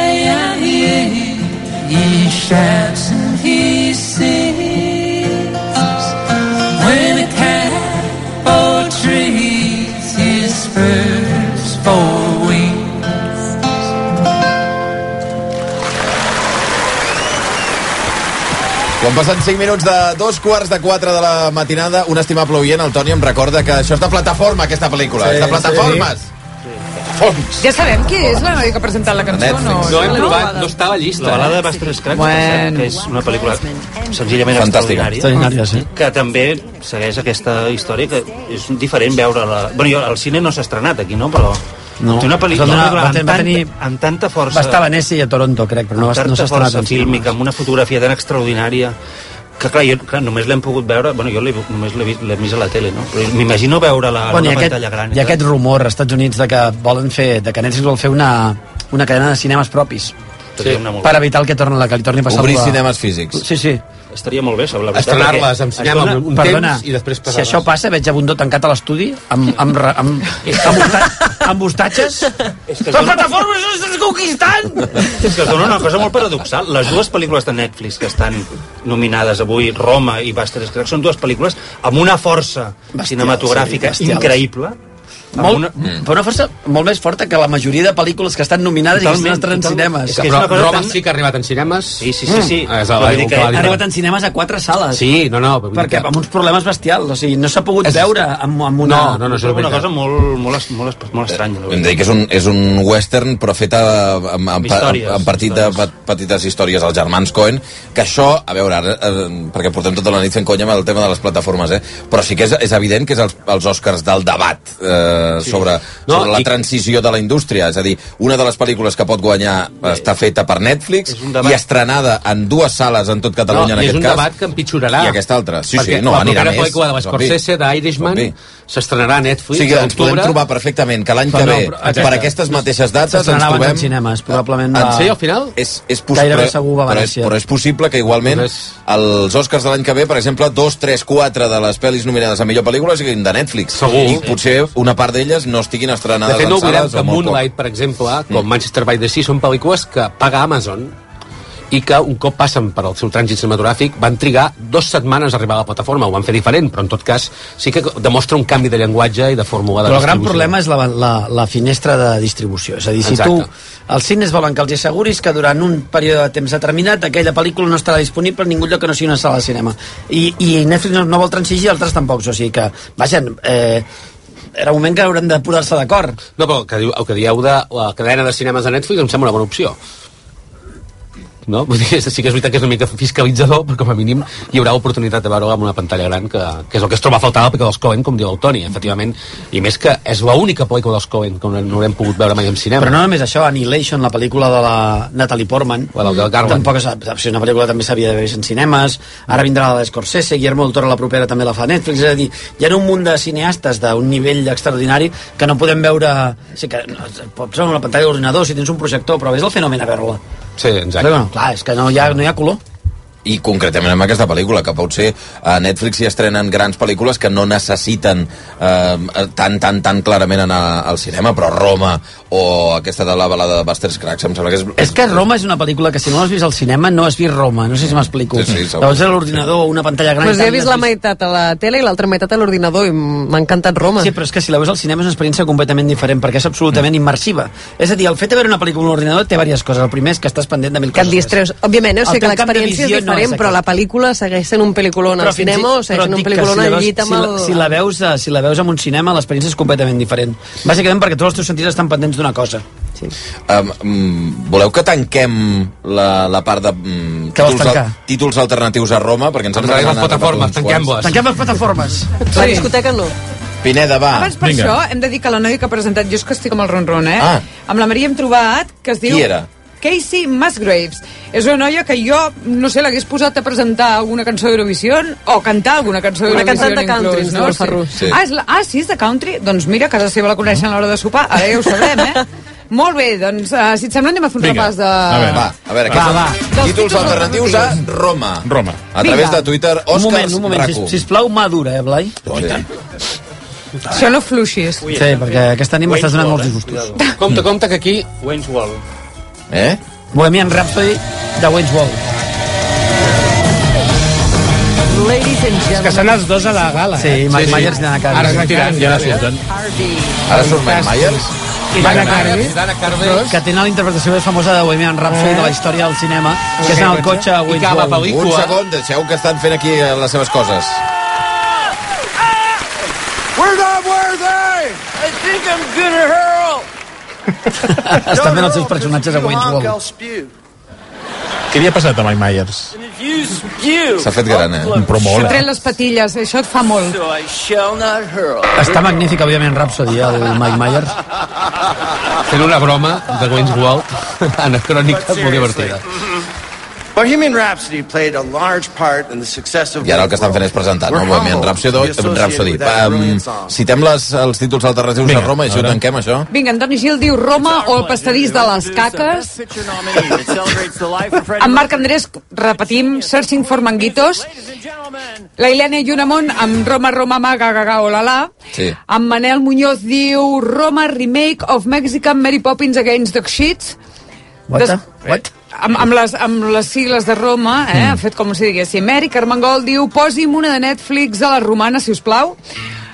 S9: Yippee-ki-yay, he shouts and he sings. When a cowboy trees his spurs for wings.
S8: Quan passen 5 minuts de dos quarts de 4 de la matinada, un estimable oient, el Toni, em recorda que això és de plataforma, aquesta pel·lícula.
S1: Sí,
S8: és de plataformes. Plataformes.
S1: Ja sabem qui és la noia que ha presentat la cançó, no?
S5: Netflix.
S14: No
S1: Sí,
S14: hem
S1: no?
S14: provat, no estava a llista.
S5: La
S14: eh?
S5: balada de Bastres Cracs,
S1: Bueno.
S5: bueno. que és una pel·lícula senzillament
S8: Fantàstica.
S5: extraordinària,
S4: Extraordinària, sí.
S5: que també segueix aquesta història que és diferent veure-la... Bueno, jo, al cine no s'ha estrenat aquí, no? Però
S4: No.
S5: té una pel·lícula,
S4: Es va donar-
S5: una pel·lícula
S4: va
S5: amb,
S4: tenir- va
S5: tant,
S4: tenir-
S5: amb tanta força...
S4: Va estar a Venècia i a Toronto, crec, però no, va- no
S5: tanta
S4: s'ha estrenat.
S5: força
S4: en
S5: fílmica, amb una fotografia tan extraordinària que clar, jo, clar, només l'hem pogut veure bueno, jo l'he- només l'he vist, l'he vist a la tele no? però m'imagino veure-la en
S4: Bueno,
S5: Ah, una
S4: hi ha
S5: pantalla
S4: aquest,
S5: gran eh?
S4: hi ha aquest rumor als Estats Units de que volen fer, de que Netflix vol fer una, una cadena de cinemes propis
S5: Seria una molt
S4: per
S5: bona.
S4: evitar el que torna la que li torni a passar
S8: Obrir
S4: la...
S8: cinemes físics.
S4: Sí, sí.
S5: estaria molt bé això, la veritat,
S14: Estrenar-les
S5: perquè
S14: amb cinema
S5: es dona-
S14: amb un
S4: Perdona,
S14: temps i després
S4: si
S14: passar-les.
S4: això passa veig a Bundó tancat a l'estudi amb, amb, re- amb, amb, hosta- amb hostatges
S5: és que es
S4: les
S5: dona-
S4: plataformes estàs conquistant
S5: És que es dona una cosa molt paradoxal. Les dues pel·lícules de Netflix que estan nominades avui, Roma i Bastards Cracks, són dues pel·lícules amb una força cinematogràfica
S4: sí, bestials.
S5: increïble. amb
S4: molt,
S5: una-
S4: però una força molt més forta que la majoria de pel·lícules que estan nominades i que
S5: Totalment,
S4: s'estrenaran en
S5: totalment.
S4: cinemes
S5: És que és una cosa
S14: Roma
S5: tan-
S14: sí que ha arribat en cinemes. Sí,
S5: sí, sí, sí.
S8: Ah,
S14: Mm. És
S5: Però
S14: el,
S5: vull dir
S14: el
S5: que
S14: que va
S4: ha
S14: dir.
S4: arribat en cinemes a quatre sales
S14: Sí, no, no. però vull dir
S4: perquè
S14: que-
S4: amb uns problemes bestials o sigui, no s'ha pogut
S14: És-
S4: veure amb, amb una...
S14: No, no, no, això és
S5: Una
S14: veritat.
S5: cosa molt, molt, molt, molt estranya. la
S8: Hem de dir que és
S5: veritat.
S8: un, és un western però fet a, amb, amb,
S5: Històries,
S8: amb, amb partit de,
S5: històries.
S8: pe- petites històries als germans Cohen, que això, a veure, ara, eh, perquè portem tota la nit fent conya amb el tema de les plataformes, eh? però sí que és, és evident que és els, els Oscars del debat eh,
S14: Sí.
S8: sobre,
S14: No,
S8: sobre la
S14: i-
S8: transició de la indústria. És a dir, una de les pel·lícules que pot guanyar està feta per Netflix i estrenada en dues sales en tot Catalunya
S14: no,
S8: en
S14: i és
S8: aquest
S14: un
S8: cas.
S14: debat que empitjorarà.
S8: I aquesta altra. Sí,
S14: perquè
S8: sí, no,
S14: la
S8: anirà
S14: propera
S8: més,
S14: pel·lícula de
S8: és obvi.
S14: l'Escorsese, d'Irishman,
S8: obvi.
S14: s'estrenarà a
S8: O
S14: Netflix
S8: sigui,
S14: a
S8: ens podem
S14: l'octubre.
S8: trobar perfectament que l'any que
S14: Però no,
S8: ve,
S14: però aquesta-
S8: per aquestes mateixes dates, ens
S4: S'estrenava
S8: trobem...
S4: en cinemes, probablement
S14: Ah,
S4: va-
S8: sí, al final? És, és possible,
S4: Gairebé segur va a
S8: però és,
S4: Venècia.
S8: però és possible que igualment els Oscars de l'any que ve, per exemple, dos, tres, quatre de les pel·lis nominades a millor pel·lícula siguin de Netflix.
S14: Segur.
S8: I potser una part d'elles no estiguin
S14: De
S8: estrenades
S14: fet, no
S8: en
S14: oblidem
S8: sales
S14: que
S8: o molt poc. Mm.
S14: Moonlight, per exemple, com Manchester by the Sea, són pel·lícules que paga Amazon i que un cop passen per el seu trànsit cinematogràfic van trigar dues setmanes a arribar a la plataforma. Ho van fer diferent, però en tot cas sí que demostra un canvi de llenguatge i de fórmula de
S4: Però el gran
S14: distribució.
S4: problema és la, la, la finestra de distribució. És a dir, si
S14: Exacte.
S4: tu... Els cines volen que els asseguris que durant un període de temps determinat aquella pel·lícula no estarà disponible en ningú lloc que no sigui una sala de cinema. I, i Netflix no, no vol transigir, altres tampoc. O sigui que, vaja, eh, era un moment que haurem de posar-se d'acord.
S14: No, però el que, diu, el que dieu de la cadena de cinemes de Netflix em sembla una bona opció. No? Vull dir, sí que és veritat que és una mica fiscalitzador, però com a mínim hi haurà oportunitat de veure-ho amb una pantalla gran, que, que és el que es troba a faltar a la pel·lícula dels Coen, com diu el Toni, efectivament. I més que és l'única pel·lícula dels Coen que no, no haurem pogut veure mai en cinema.
S4: Però no només això, Annihilation, la pel·lícula de la Natalie Portman,
S14: del Garland.
S4: tampoc és, és una pel·lícula que també s'havia d'haver vist en cinemes,
S8: Mm.
S4: ara vindrà la d'Escorsese, Guillermo del Toro la propera també la fa a Netflix, és a dir, hi ha un munt de cineastes d'un nivell extraordinari que no podem veure... Sí que no, pots veure una pantalla d'ordinador si tens un projector, però és el fenomen a veure-la.
S14: Sí,
S4: Però, bueno, clar, és que no hi ha, no hi ha color.
S8: i concretament amb aquesta pel·lícula, que potser a Netflix hi estrenen grans pel·lícules que no necessiten eh, tan, tan, tan clarament anar al cinema, però Roma o aquesta de la balada de Buster's Cracks, em sembla que és...
S4: És que Roma és una pel·lícula que si no l'has vist al cinema no has vist Roma, no sé si m'explico.
S8: Sí, sí, segur.
S4: Llavors era l'ordinador o una pantalla gran...
S3: Pues
S4: i
S3: he
S4: tal,
S3: vist
S4: i
S3: la meitat a la tele i l'altra meitat a l'ordinador i m'ha encantat Roma.
S4: Sí, però és que si la veus al cinema és una experiència completament diferent, perquè és absolutament immersiva. És a dir, el fet de veure una pel·lícula a un ordinador té diverses coses. El primer és que estàs pendent de mil
S3: que et
S4: coses.
S3: distreus. Òbviament, eh? o
S4: El
S3: sigui que
S4: teu camp de
S3: l'experiència és
S4: visió no
S3: diferent,
S4: és
S3: però
S4: aquest.
S3: la pel·lícula segueix sent un pel·liculon al
S4: fins i-
S3: cinema o segueix
S4: però
S3: sent un
S4: dic que
S3: pel·liculon
S4: si la
S3: al
S4: veus-
S3: llit amb
S4: si la,
S3: el...
S4: Si la, veus, eh, si la veus en un cinema, l'experiència és completament diferent. Bàsicament perquè tots els teus sentits estan pendents d'una cosa. Sí.
S8: Um, um, voleu que tanquem la, la part de um,
S4: Que vols
S8: títols, al-
S4: tancar?
S8: títols alternatius a Roma? Perquè ens
S14: Ens anem a les plataformes, tanquem-les.
S4: Tanquem les plataformes.
S3: La discoteca no.
S8: Pineda, va.
S1: Abans per això hem de dir que la noia que ha presentat, jo és que estic amb el ronron, eh?
S8: Ah.
S1: Amb la Maria hem trobat que es diu...
S8: Qui era?
S1: Casey Musgraves. És una noia que jo, no sé, l'hagués posat a presentar alguna cançó d'Eurovisió o cantar alguna cançó
S3: Una
S1: d'Eurovisió.
S3: cantant de country, ens diu el Ferrú.
S1: Sí.
S3: Sí.
S1: Ah, és la... ah, sí, és de country? Doncs mira, a casa seva la coneixen a l'hora de sopar. Ara ja ho sabrem, eh? Molt bé, doncs, uh, si et sembla, anem a fer un repàs de...
S8: A veure, va, a veure,
S1: Va,
S8: aquests
S1: va.
S8: són títols alternatius a Roma. Roma. A través
S4: Vinga.
S8: de Twitter,
S4: un moment,
S8: Oscars Oh,
S4: un moment,
S8: RAC1.
S4: sis, sisplau, mà dura, eh, Blai?
S8: Sí.
S1: Això no fluixis.
S4: Sí, perquè aquesta nit m'estàs donant molts disgustos.
S14: Compte, compte, que aquí...
S5: Wayne's Wall.
S8: Eh?
S4: Bohemian Rhapsody de Wayne's Wall.
S9: Ladies and
S23: És que són els dos a la gala.
S4: Sí,
S23: eh?
S4: Mike Myers anant a casa.
S23: Ara
S4: Tiran, ja la surten.
S8: Ara surt Mike Myers?
S4: I Dana Carvey,
S14: Dana
S4: que tenen la interpretació més famosa de Bohemian Rhapsody de la història del cinema, que és en el cotxe a Wayne's Wall.
S8: Un segon, deixeu que estan fent aquí eh, les seves coses.
S9: We're not worthy! I think I'm gonna hurl!
S4: Estan fent els seus personatges a Wayne's Wall.
S9: spew.
S7: Què li ha passat a Mike Myers?
S9: If you spew...
S7: S'ha fet gran, eh? Però molt,
S1: S'ha tret les patilles, això et fa molt.
S9: I shall not hurl.
S4: Està magnífic, òbviament, Rhapsody, eh, el Mike Myers.
S14: Fent una broma de Wayne's Wall anacrònica molt divertida.
S23: Bohemian Rhapsody played a large part in the success of
S8: I ara el que estan fent és presentar, no? Bohemian Rhapsody. Rhapsody. Um, citem les, els títols alternatius de Roma i així ho tanquem, això.
S1: Vinga, Antoni Gil diu Roma o el pastadís de les caques. En Marc Andrés, repetim, Searching for Manguitos. La Helena Llunamont amb Roma, Roma, Maga, Gaga, Olala.
S8: Sí.
S1: En Manel Muñoz diu Roma, remake of Mexican Mary Poppins against the Sheets.
S4: What the- What?
S1: Amb, amb, les, amb les sigles de Roma, eh? Mm. ha fet com si diguéssim. Eric Armengol diu, posi'm una de Netflix a la romana, si us plau.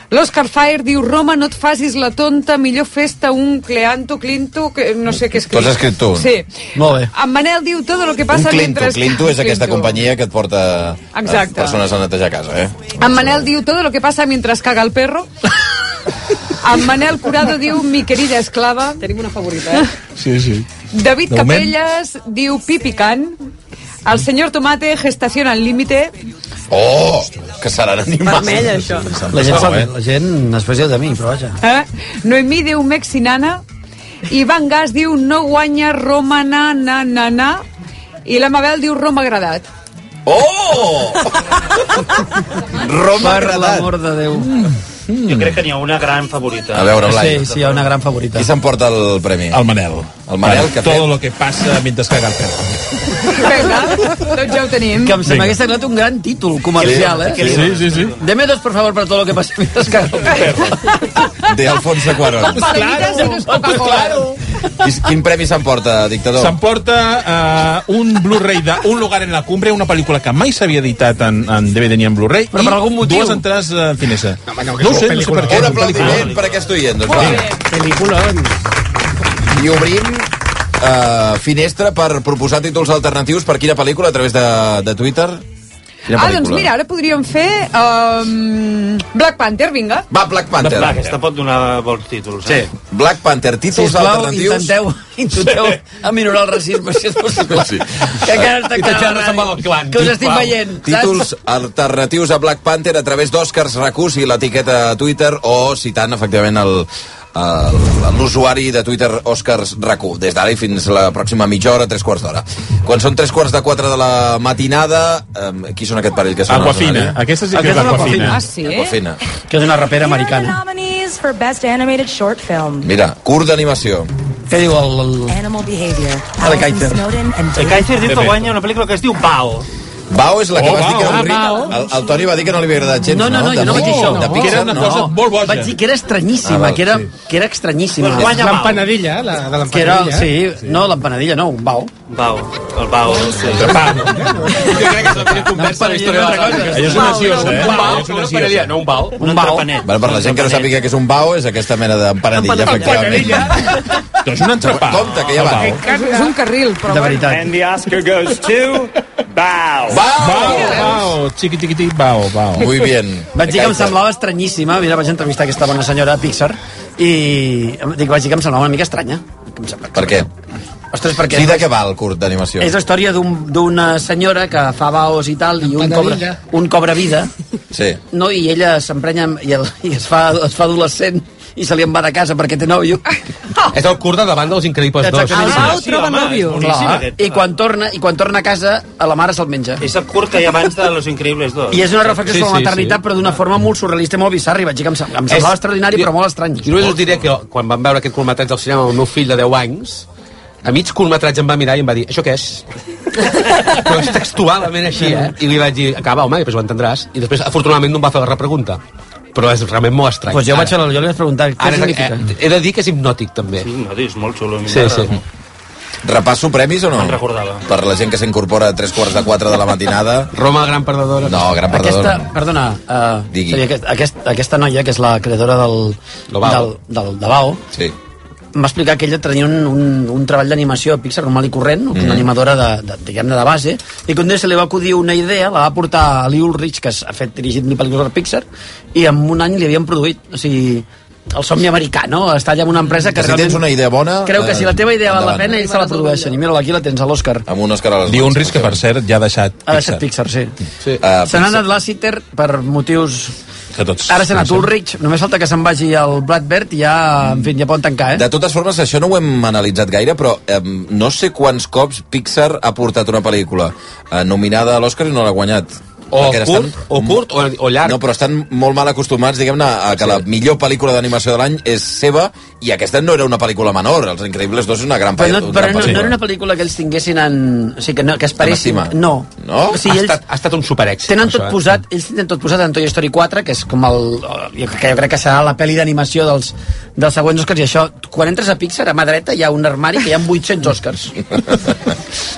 S1: L'Oscar Fire diu, Roma, no et facis la tonta, millor festa un cleanto, clinto, que no sé què escriu.
S8: T'ho has escrit tu.
S1: Sí.
S4: Molt bé.
S1: En Manel diu, tot el que
S8: Un
S1: passa
S8: Clinto.
S1: mentre...
S8: Clinto és aquesta
S1: Clinto.
S8: companyia que et porta eh,
S1: Exacte.
S8: persones a netejar casa, eh?
S1: En Manel diu todo lo que pasa mientras caga el perro. En Manel Curado diu mi querida esclava. Tenim una favorita, eh?
S7: Sí, sí.
S1: David
S7: De moment.
S1: Capelles diu pipicant. El senyor Tomate, gestación al límite.
S8: Oh! Que seran animals.
S1: Vermell, això.
S4: La gent, sol,
S8: eh?
S4: la gent després diu de mi, però vaja.
S1: Eh? Noemí diu mexinana. Ivan Gas diu no guanya Roma na na na na. I la Mabel diu Roma agradat.
S8: Oh!
S4: Roma Per l'amor de Déu.
S5: Jo crec que n'hi ha una gran favorita.
S8: Mm, A veure, Blai.
S4: Sí, sí, hi ha una gran favorita.
S8: Qui s'emporta el premi? El
S7: Manel.
S8: El Manel, que ha fet...
S7: Todo lo que passa mentre es caga el perro.
S1: Vinga, doncs ja ho tenim.
S4: Que em
S7: Vinga.
S4: m'hagués semblat un gran títol comercial, eh?
S7: Sí, sí, sí, sí.
S4: Deme dos, por favor, para todo lo que pase mientras cago.
S8: De Alfonso Cuarón.
S1: Pues claro, si no és Coca-Cola.
S8: Quin- Quin premi s'emporta, dictador?
S7: S'emporta eh, un Blu-ray de Un lugar en la cumbre, una pel·lícula que mai s'havia editat en, en DVD ni en Blu-ray.
S8: Però
S7: i
S8: per algun motiu.
S7: Dues entrades eh, al cinesa. No,
S8: Ah, que és
S7: ho
S8: una
S7: sé, no sé
S8: pel·lícula.
S7: per què.
S8: Un aplaudiment per aquest oient, doncs va.
S23: Peliculón.
S8: I obrim uh, finestra per proposar títols alternatius per quina pel·lícula a través de, de Twitter? Quina
S1: Ah, doncs mira, ara podríem fer um, Black Panther, vinga.
S8: Va, Black Panther.
S5: Va, aquesta pot donar bons títols,
S8: Sí.
S5: eh?
S8: Black Panther, títols
S4: Sisplau,
S8: alternatius...
S4: intenteu- intenteu aminorar el racisme, si és possible.
S8: Sí.
S4: Que encara està quedant la ràdio. Que us estic veient,
S8: Títols alternatius a Black Panther a través d'Òscars Recurs i l'etiqueta Twitter o citant, efectivament, el el- l'usuari de Twitter Òscars Racu, des d'ara i fins la pròxima mitja hora, tres quarts d'hora. Quan són tres quarts de quatre de la matinada, eh, qui són aquest parell que són?
S7: Aquafina. Aquesta sí que Aquesta és és Aquafina. Aquafina. Ah,
S8: sí?
S7: sí?
S8: Aquafina.
S4: Que és una rapera americana.
S24: Nominees for Best Animated Short Film.
S8: Mira, curt d'animació.
S4: Què diu el... el...
S24: Animal Behavior.
S4: Ale Kaiser.
S5: El Kaiser diu que guanya una pel·lícula que es diu Bao.
S8: Bao és la que
S5: Oh,
S8: vas dir que era
S5: Bao.
S8: un rit. El, el Toni va dir que no li havia agradat gens,
S4: No, no, no, jo no
S8: De
S4: vaig dir
S8: Pixar,
S4: això.
S8: De Pixar, no.
S4: Vaig dir que era
S8: Ah,
S4: estranyíssima,
S8: val,
S4: que era, que era estranyíssima.
S23: Pues guanya L'empanadilla, la de
S4: Que era,
S23: l'empanadilla.
S4: sí,
S8: eh?
S4: no, l'empanadilla no, un bau.
S5: Bao. El Bao. Sí.
S4: Conversa
S7: Allò és una nació, eh?
S14: Allò és una nació, sí.
S8: no un bau.
S4: Un bau.
S8: Bueno, per la gent que no sàpiga què és un bao, és aquesta mena d'empanadilla, efectivament. Doncs un entrepà. Compte, que ja va.
S1: És, és un carril, però...
S8: De veritat.
S1: bueno.
S8: And
S13: the Oscar goes to... Bao!
S7: Bao, bao, xiqui, xiqui, xiqui, bao, bao.
S4: Vaig dir que em semblava estranyíssima. Mira, vaig entrevistar aquesta bona senyora de Pixar i em- dic, vaig dir que em semblava una mica estranya.
S8: Per què?
S4: Ostres, perquè...
S8: Sí, de què va el curt d'animació?
S4: És la història d'un- d'una senyora que fa baos i tal i un cobra,
S8: Empanadilla.
S4: un cobra vida
S8: Sí.
S4: no, i ella s'emprenya amb- i, el, i es, fa, es fa adolescent i se li en va de casa perquè té nòvio.
S14: És el curt de davant dels Increïbles Ah, 2.
S4: Exactament. Clar.
S5: aquest.
S4: I quan, torna, I quan torna a casa, a la mare se'l menja.
S5: És el curt que hi ha abans de Los Increïbles 2.
S4: I és una reflexió sí, sobre la maternitat, sí. però d'una forma molt surrealista i molt bizarra. I vaig dir que em, sem- em semblava extraordinari, però molt estrany.
S14: I només us diré que quan vam veure aquest curtmetratge al cinema amb el meu fill de 10 anys, a mig curtmetratge em va mirar i em va dir això què és? però és textualment així, eh? I li vaig dir, acaba, home, i després ho entendràs. I després, afortunadament, no em va fer la repregunta. però és realment molt estrany.
S4: Pues jo vaig a la- jo li vaig preguntar què
S14: Ara,
S4: significa.
S14: Eh, he de dir que és hipnòtic, també.
S5: Sí, no, és molt xulo.
S14: Sí, sí.
S8: Repasso premis o no?
S5: Me'n recordava.
S8: Per la gent que s'incorpora a tres quarts de quatre de la matinada.
S14: Roma, gran perdedora.
S8: No, gran perdedora.
S4: Aquesta, perdona, uh,
S8: Digui.
S4: Xavier, aquest, aquest, aquesta noia, que és la creadora del, del,
S8: Bao.
S4: del, de Bao,
S8: Sí.
S4: m'ha explicat que ella tenia un, un, un treball d'animació a Pixar normal i corrent, una
S8: Mhm.
S4: animadora de, de, diguem-ne de base, i que un dia se li va acudir una idea, la va portar a Lee Ulrich, que ha fet dirigit mil pel·lícules de Pixar, i en un any li havien produït, o sigui, el somni americà, no? Està allà en una empresa que
S8: Que si tens una idea bona,
S4: Creu que
S8: eh,
S4: si la teva idea val la
S8: endavant.
S4: pena, ells se la produeixen. I mira-la, aquí la tens a l'Òscar.
S8: Amb un Òscar a les
S7: Diu un risc que, per cert, ja ha deixat Pixar.
S4: Ha deixat Pixar, sí.
S8: Sí. Uh,
S4: Se n'ha anat Lassiter per motius
S7: Que tots...
S4: Ara se n'ha
S8: Doncs,
S7: coneixem.
S4: Ulrich, només falta que se'n vagi al Blackbird i ja, en fi, ja poden tancar, eh?
S8: De totes formes, això no ho hem analitzat gaire, però eh, no sé quants cops Pixar ha portat una pel·lícula eh, nominada a l'Oscar i no l'ha guanyat.
S14: O
S8: Perquè
S14: curt, o curt, o, o llarg.
S8: No, però estan molt mal acostumats, diguem-ne, a que la millor pel·lícula d'animació de l'any és seva, i aquesta no era una pel·lícula menor. Els Increïbles 2 és una gran, pe-
S4: Però, no,
S8: una
S4: però
S8: gran
S4: no, no
S8: pel·lícula.
S4: era una pel·lícula que ells tinguessin en... O sigui, que, no, que es paressin...
S8: estima.
S4: No.
S8: No?
S4: O sigui,
S8: Ha
S4: ells
S8: estat-
S14: Ha estat un superèxit.
S4: tenen
S14: això,
S4: tot
S14: eh?
S4: posat, ells tenen tot posat en Toy Story 4, que és com el... Jo, crec- que jo crec que serà la pel·li d'animació dels, dels següents Oscars, i això... Quan entres a Pixar, a mà dreta hi ha un armari que hi ha 800 Oscars.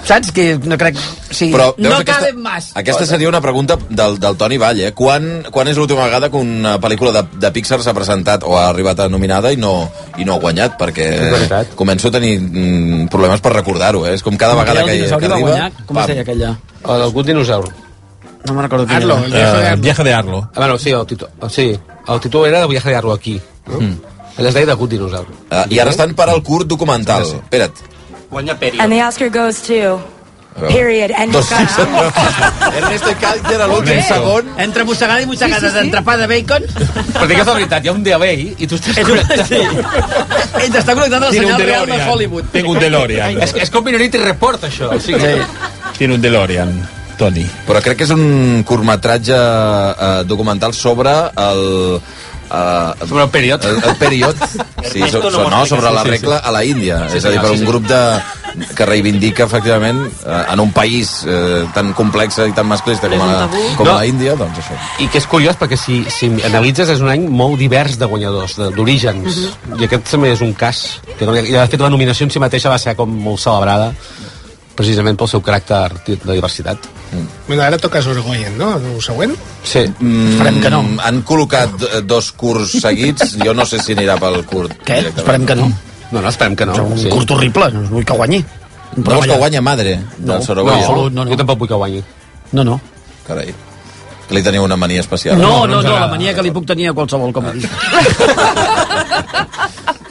S4: Saps? Que no crec... O sigui,
S8: Però, veus,
S4: no
S8: aquesta-
S4: caben més.
S8: Aquesta seria una pregunta del, del Toni Vall, eh? Quan, quan és l'última vegada que una pel·lícula de, de Pixar s'ha presentat o ha arribat a nominada i no, i no ha guanyat? Perquè
S14: És veritat.
S8: començo a tenir mm, problemes per recordar-ho, eh? És com cada vegada que, que
S4: va
S8: arriba...
S4: guanyar, com es deia aquella?
S14: O d'algun dinosaur. Eh,
S4: No me'n recordo
S14: quin
S4: Arlo,
S14: era.
S4: el viaje de Arlo.
S7: viaje de Arlo.
S14: Ah, bueno, sí, el títol, sí, el títol era de viaje de Arlo aquí. No? Mm. Ell es deia de Good Dinosaur.
S8: Uh, I ara estan per al curt documental. Espera't.
S5: Guanya
S24: And the Oscar goes to. Period. And
S8: Dos- Ernesto Calder a l'últim segon.
S4: Entre mossegada i mossegada sí, sí, sí. d'entrepà de bacon...
S14: Però digues la veritat, hi ha un DeLay i tu estàs connectat. Sí.
S4: Ells està connectat al senyal real de Hollywood.
S7: Tinc un DeLorean.
S14: És, és com Minority Report, això. O sigui,
S7: Tinc un DeLorean, Toni.
S8: Però crec que és un curtmetratge eh, documental sobre el... Eh,
S14: sobre el period.
S8: El, el period. Sí, so,
S14: Ernesto no
S8: so, no,
S14: mostra
S8: sobre
S14: que
S8: la
S14: sí, sí,
S8: regla
S14: sí.
S8: a la Índia.
S14: Sí,
S8: és a dir,
S14: sí,
S8: per
S14: sí,
S8: un
S14: sí.
S8: grup de, que reivindica, efectivament, eh, en un país eh, tan complex i tan masclista com a, com a
S14: No.
S8: la Índia, doncs això.
S14: I que és curiós perquè si, si analitzes és un any molt divers de guanyadors, de- d'orígens. Mm -hmm. I aquest també és un cas. Que, no- I de fet la nominació en si mateixa va ser com molt celebrada precisament pel seu caràcter de diversitat.
S10: Bueno, ara toca Sorgoyen, no? El següent?
S14: Sí.
S8: Mm,
S4: Esperem que no.
S8: Han col·locat eh, dos curts seguits. Jo no sé si anirà pel curt. Què?
S4: Esperem que no.
S14: No, no, esperem que no.
S4: Un sí. curt horrible, no vull que guanyi.
S8: No vols que guanya madre
S4: No,
S8: del
S14: No,
S8: Sorogoyen?
S14: no, no, no. Jo tampoc vull que guanyi.
S4: No, no.
S8: Carai. Que li teniu una mania especial.
S4: No, no, no, la mania que li puc tenir a qualsevol, com he dit.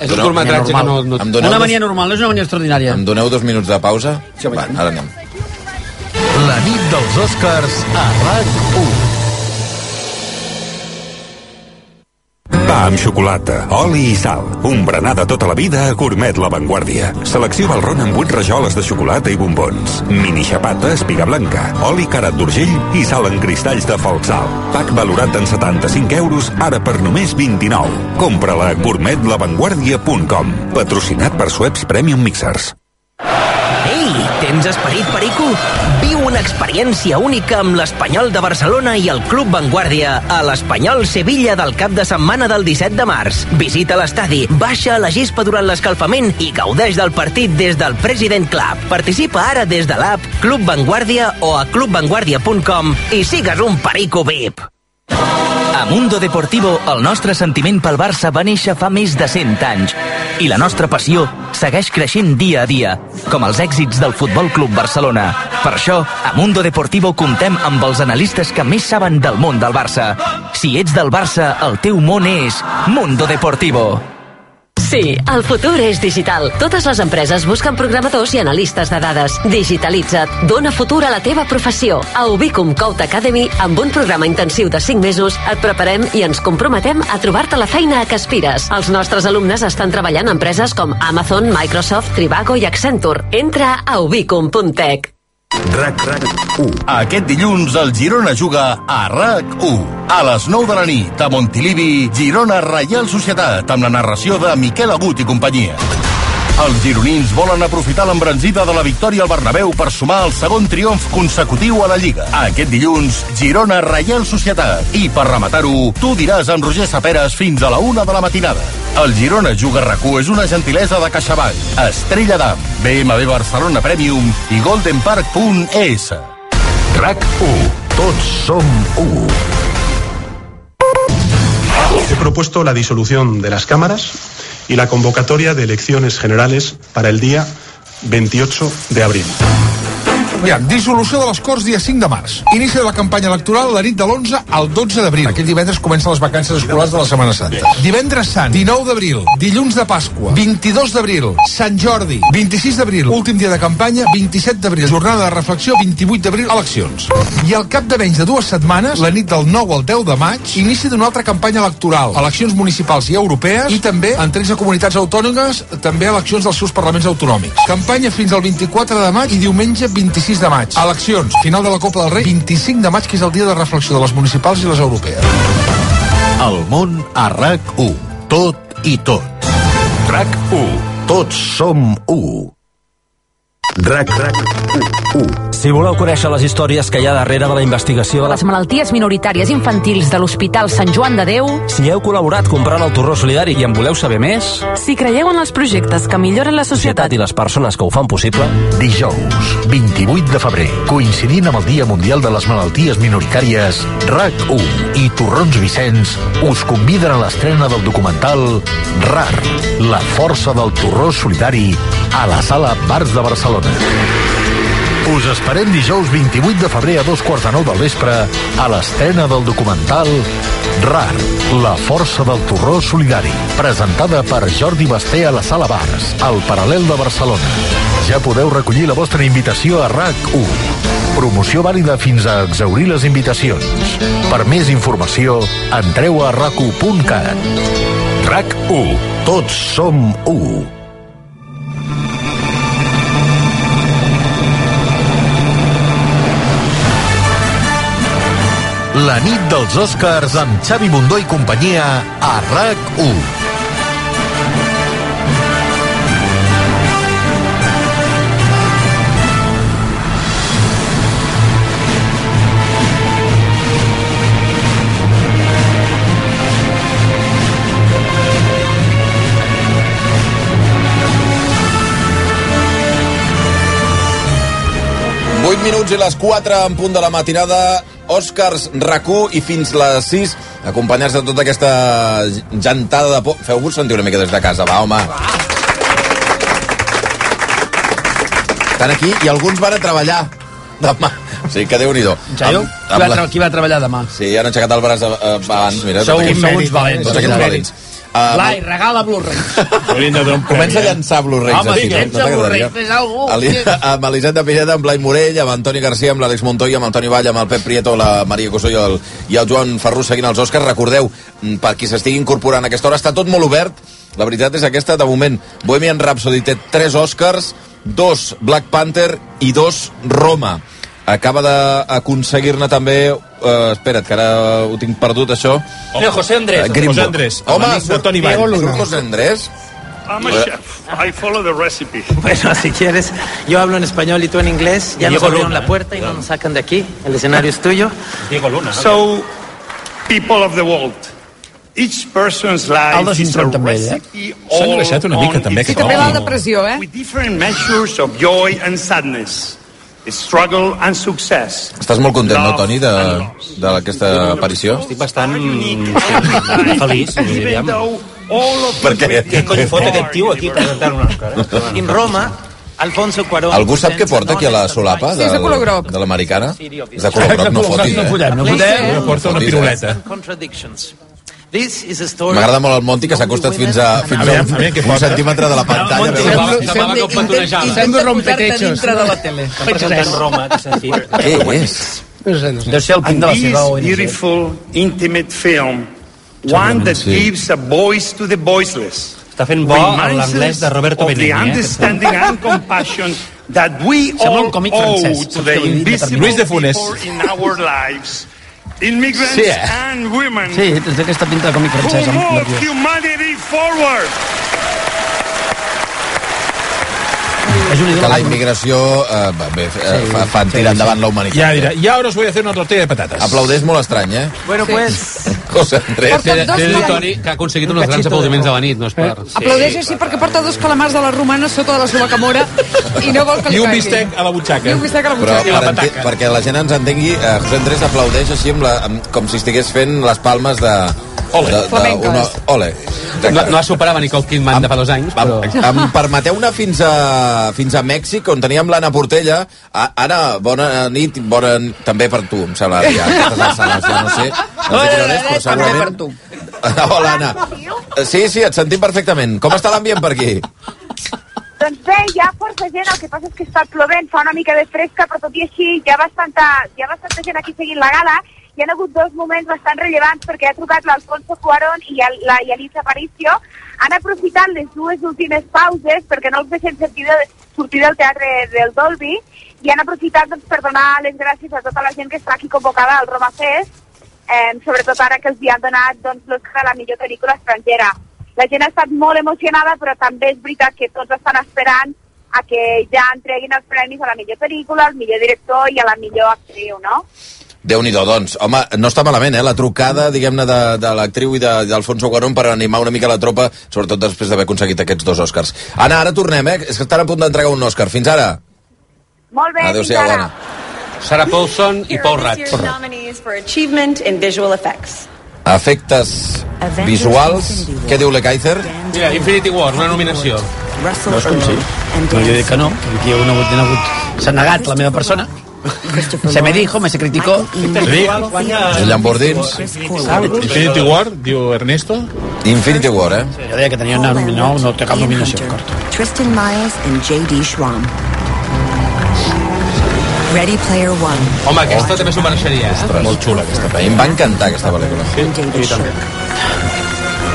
S14: És un curtmetratge que no... no...
S8: Em doneu,
S4: Una
S8: dos,
S4: mania normal, no és una mania extraordinària.
S8: em doneu dos minuts de pausa? Sí, Va, ara anem.
S25: La nit dels Oscars a RAC1.
S26: Pa amb xocolata, oli i sal. Un berenar de tota la vida a Gourmet La Vanguardia. Selecció Valron amb 8 rajoles de xocolata i bombons. Mini xapata, espiga blanca, oli carat d'urgell i sal en cristalls de folksal. Pac valorat en 75 euros, ara per només 29. Compra-la a gourmetlavanguardia.com. Patrocinat per Sueps Premium Mixers.
S27: Ei, tens esperit, Perico? Viu una experiència única amb l'Espanyol de Barcelona i el Club Vanguardia a l'Espanyol Sevilla del cap de setmana del 17 de març. Visita l'estadi, baixa a la gespa durant l'escalfament i gaudeix del partit des del President Club. Participa ara des de l'app Club Vanguardia o a clubvanguardia.com i sigues un Perico VIP.
S28: A Mundo Deportivo, el nostre sentiment pel Barça va néixer fa més de 100 anys i la nostra passió segueix creixent dia a dia, com els èxits del Futbol Club Barcelona. Per això, a Mundo Deportivo comptem amb els analistes que més saben del món del Barça. Si ets del Barça, el teu món és Mundo Deportivo.
S29: Sí, el futur és digital. Totes les empreses busquen programadors i analistes de dades. Digitalitza't. Dóna futur a la teva professió. A Ubicum Code Academy, amb un programa intensiu de 5 mesos, et preparem i ens comprometem a trobar-te la feina a que aspires. Els nostres alumnes estan treballant a empreses com Amazon, Microsoft, Trivago i Accenture. Entra a ubicum.tech.
S25: RAC, RAC 1. Aquest dilluns el Girona juga a RAC 1. A les 9 de la nit, a Montilivi, Girona Reial Societat, amb la narració de Miquel Agut i companyia. Els gironins volen aprofitar l'embranzida de la victòria al Bernabéu per sumar el segon triomf consecutiu a la Lliga. Aquest dilluns, Girona Reial Societat. I per rematar-ho, tu diràs amb Roger Saperes fins a la una de la matinada. El Girona Juga RAC1 és una gentilesa de CaixaBank, Estrella d'Am, BMW Barcelona Premium i goldenpark.es. RAC1. Tots som u.
S2: He propuesto la disolución de las cámaras y la convocatoria de elecciones generales para el día 28 de abril.
S6: Aviam, dissolució de les Corts dia 5 de març. Inici de la campanya electoral la nit de l'11 al 12 d'abril. Aquell divendres comencen les vacances escolars de la Setmana Santa. Divendres Sant, 19 d'abril, dilluns de Pasqua, 22 d'abril, Sant Jordi, 26 d'abril, últim dia de campanya, 27 d'abril, jornada de reflexió, 28 d'abril, eleccions. I al cap de menys de dues setmanes, la nit del 9 al 10 de maig, inici d'una altra campanya electoral, eleccions municipals i europees i també en 13 comunitats autònomes, també eleccions dels seus parlaments autonòmics. Campanya fins al 24 de maig i diumenge 26 de maig. Eleccions, final de la Copa del Rei, 25 de maig, que és el dia de reflexió de les municipals i les europees.
S25: El món a RAC1. Tot i tot. RAC1. Tots som u.
S26: RAC, RAC, u, u. Si voleu conèixer les històries que hi ha darrere de la investigació de la...
S11: Les malalties minoritàries infantils de l'Hospital Sant Joan de Déu,
S26: Si heu col·laborat comprant el torró solidari i en voleu saber més,
S11: si creieu en els projectes que milloren la societat...
S26: societat i les persones que ho fan possible,
S25: Dijous, 28 de febrer, coincidint amb el Dia Mundial de les Malalties Minoritàries, RAC1 i Torrons Vicenç us conviden a l'estrena del documental RAR, la força del torró solidari, a la sala Bars de Barcelona. Us esperem dijous 28 de febrer a dos quarts de nou del vespre a l'estrena del documental RAR, la força del torró solidari, presentada per Jordi Basté a la Sala Bars, al Paral·lel de Barcelona. Ja podeu recollir la vostra invitació a RAC1. Promoció vàlida fins a exaurir les invitacions. Per més informació, entreu a rac1.cat. RAC1. Tots som u. La nit dels Oscars amb Xavi Bundó i companyia a RAC1.
S8: Vuit minuts i les 4 en punt de la matinada. Òscars, RAC1 i fins les 6 acompanyats de tota aquesta gentada de por. Feu-vos sentir una mica des de casa, va, home. Estan aquí i alguns van a treballar demà. Sí, que Déu-n'hi-do.
S4: Ja jo?
S8: Amb-
S4: Qui
S8: amb
S4: va,
S8: la-
S4: tre- qui va treballar demà?
S8: Sí, han aixecat el braç eh, abans. Mira,
S4: Sou
S8: tots aquests-
S4: uns mèrits valents,
S8: Tots
S4: sou
S8: aquests
S4: uns
S8: valents. Ah,
S4: Lai, regala Blu-ray.
S8: Comença a
S5: eh?
S8: llançar Blu-rays.
S4: Home,
S8: aquí,
S4: si tens
S8: no
S4: el Blu-ray,
S8: t'agradaria?
S4: fes alguna
S8: Ali, amb Elisenda Pineda, amb Blai Morell, amb Antoni Garcia, amb l'Àlex Montoya, amb el Toni Vall, amb el Pep Prieto, la Maria Cossó i el, i el Joan Ferrus seguint els Oscars. Recordeu, mm, per qui s'estigui incorporant a aquesta hora, està tot molt obert. La veritat és aquesta, de moment, Bohemian Rhapsody té 3 Oscars, 2 Black Panther i 2 Roma. Acaba d'aconseguir-ne també... Eh, espera't, que ara ho tinc perdut, això.
S5: Mira, José Andrés.
S8: Eh, Grimbo.
S5: José Andrés, amb
S8: Home,
S5: amic de
S8: surt
S5: Toni Vall.
S8: surt José Andrés.
S12: I'm
S8: Bueno.
S12: a chef. I follow the recipe.
S16: Bueno, si quieres, yo hablo en español y tú en inglés. Ya
S12: Y
S16: nos
S12: Diego
S16: abrieron
S12: Luna,
S16: la puerta y no nos sacan de aquí. El escenario es tuyo.
S12: Diego Luna. So, people of the world, each person's life is a
S1: eh?
S12: recipe
S7: eh? S'ha
S12: all
S7: engreixat una mica,
S12: on
S7: també,
S1: Sí,
S7: aquest
S1: també va
S7: home.
S1: la depressió, eh?
S12: with different measures of joy and sadness, struggle and success.
S8: Estàs molt content, no, Toni, de- d'aquesta aparició?
S5: Estic bastant mm, feliç, diríem.
S8: Per què?
S5: Què cony fot aquest tio aquí presentant una eh?
S16: En Roma, Alfonso Cuarón.
S8: Algú sap què porta aquí a la solapa
S16: Sí, és de color groc.
S8: de l'americana? És de color groc, no fotis, eh?
S16: Places
S8: fotis, eh?
S16: and Contradictions. This is a story.
S8: M'agrada molt el Monti, que s'ha acostat fins a, fins a, un, un centímetre de la pantalla.
S16: Monti,
S8: Veure-
S16: sembla- sembla que ho
S5: petonejava.
S16: Intenta
S5: rompetechos.
S16: posar-te dintre de la tele.
S5: Estan presentant Roma, t'he sentit.
S8: Què eh? és?
S5: Deu ser el pin de la
S12: And
S5: seva
S12: this
S5: ONG.
S12: beautiful, intimate film, one that gives a voice to the voiceless.
S5: Està fent bo l'anglès de Roberto
S12: of the
S5: Benigni, eh?
S12: understanding and compassion that we
S5: Sembla un
S12: all
S5: còmic francès.
S12: owe to
S5: Saps
S12: the
S5: què vull dir?
S12: invisible
S5: Luis de Funes.
S12: people in our lives. Immigrants
S4: Sí, eh?
S12: and women
S4: Sí, tens aquesta pinta de còmic
S12: who
S4: francès. Amb
S12: move
S4: l'avió.
S12: humanity forward.
S4: És un
S8: que la immigració eh, va bé, eh, fa, fa tirar endavant la humanitat. eh?
S7: Ja dirà, y ahora os voy a hacer una tortilla de patatas.
S8: Aplaudeix molt estrany, eh?
S16: Bueno, pues...
S8: José Andrés.
S1: Porten dos
S14: Té
S1: calamars.
S14: Toni, que ha aconseguit uns grans aplaudiments a la nit,
S4: Eh,
S14: no és per...
S1: Aplaudeix així perquè porta dos calamars de la romana sota de la seva camora i no vol que li
S8: I un
S1: caigui.
S8: bistec
S7: a la butxaca.
S1: I un bistec a la
S8: Però
S1: butxaca.
S8: per ente- perquè la gent ens entengui, eh, José Andrés aplaudeix així amb la, amb, com si estigués fent les palmes de... Ole. De, de,
S14: Flamenques.
S8: una,
S1: eh?
S8: ole.
S14: No, no superava Nicole Kidman de fa dos anys, però...
S8: Em permeteu anar fins a, fins a Mèxic, on teníem l'Anna Portella. A, Anna, bona nit, bona... També per tu, em sembla. Ja, a aquestes alçades, ja no sé. No sé quina hora és, però segurament...
S3: tu.
S8: Hola, Anna. Sí, sí, et sentim perfectament. Com està l'ambient per aquí?
S3: Doncs bé, hi ha força gent, el que passa és que està plovent, fa una mica de fresca, però tot i així hi ha bastanta, hi ha bastanta gent aquí seguint la gala. Hi ha hagut dos moments bastant rellevants perquè ha trucat l'Alfonso Cuarón i el- la Yalitza Aparicio. Han aprofitat les dues últimes pauses perquè no els deixen sortir, de, sortir del teatre del Dolby i han aprofitat doncs, per donar les gràcies a tota la gent que està aquí convocada al Roma Fest eh, sobretot ara que els hi han donat doncs, l'Oscar a la millor pel·lícula estrangera. La gent ha estat molt emocionada, però també és veritat que tots estan esperant a que ja entreguin els premis a la millor pel·lícula, al millor director i a la millor actriu, no?
S8: déu nhi -do, doncs. Home, no està malament, eh? La trucada, diguem-ne, de, de l'actriu i de- d'Alfonso Cuarón per animar una mica la tropa, sobretot després d'haver aconseguit aquests dos Oscars. Anna, ara tornem, eh? És que estan a punt d'entregar un Òscar. Fins ara.
S3: Molt bé,
S8: Adéu-siau,
S3: fins ara.
S8: Anna.
S14: Sarah Paulson i Paul Rudd.
S8: Correcte.
S24: nominees for achievement in visual effects.
S8: Efectes visuals. Què diu Le Kaiser?
S14: Mira, Infinity War, una nominació.
S4: Veus com sí? No, jo dic que no, que aquí hi ha un hagut, hi ha hagut... S'ha negat la meva persona. Se me dijo, me se criticó.
S8: Els llambordins.
S7: Infinity War, diu Ernesto.
S8: Infinity War, eh?
S4: Jo deia que tenia una nominació, no té cap nominació. d'acord.
S9: Tristan Miles and J.D. Schwamm. Ready Player One.
S14: Home, aquesta també s'ho mereixeria, eh?
S8: Ostres, molt xula aquesta pel·lícula. A mi em va encantar aquesta pel·lícula. Sí,
S9: sí, també.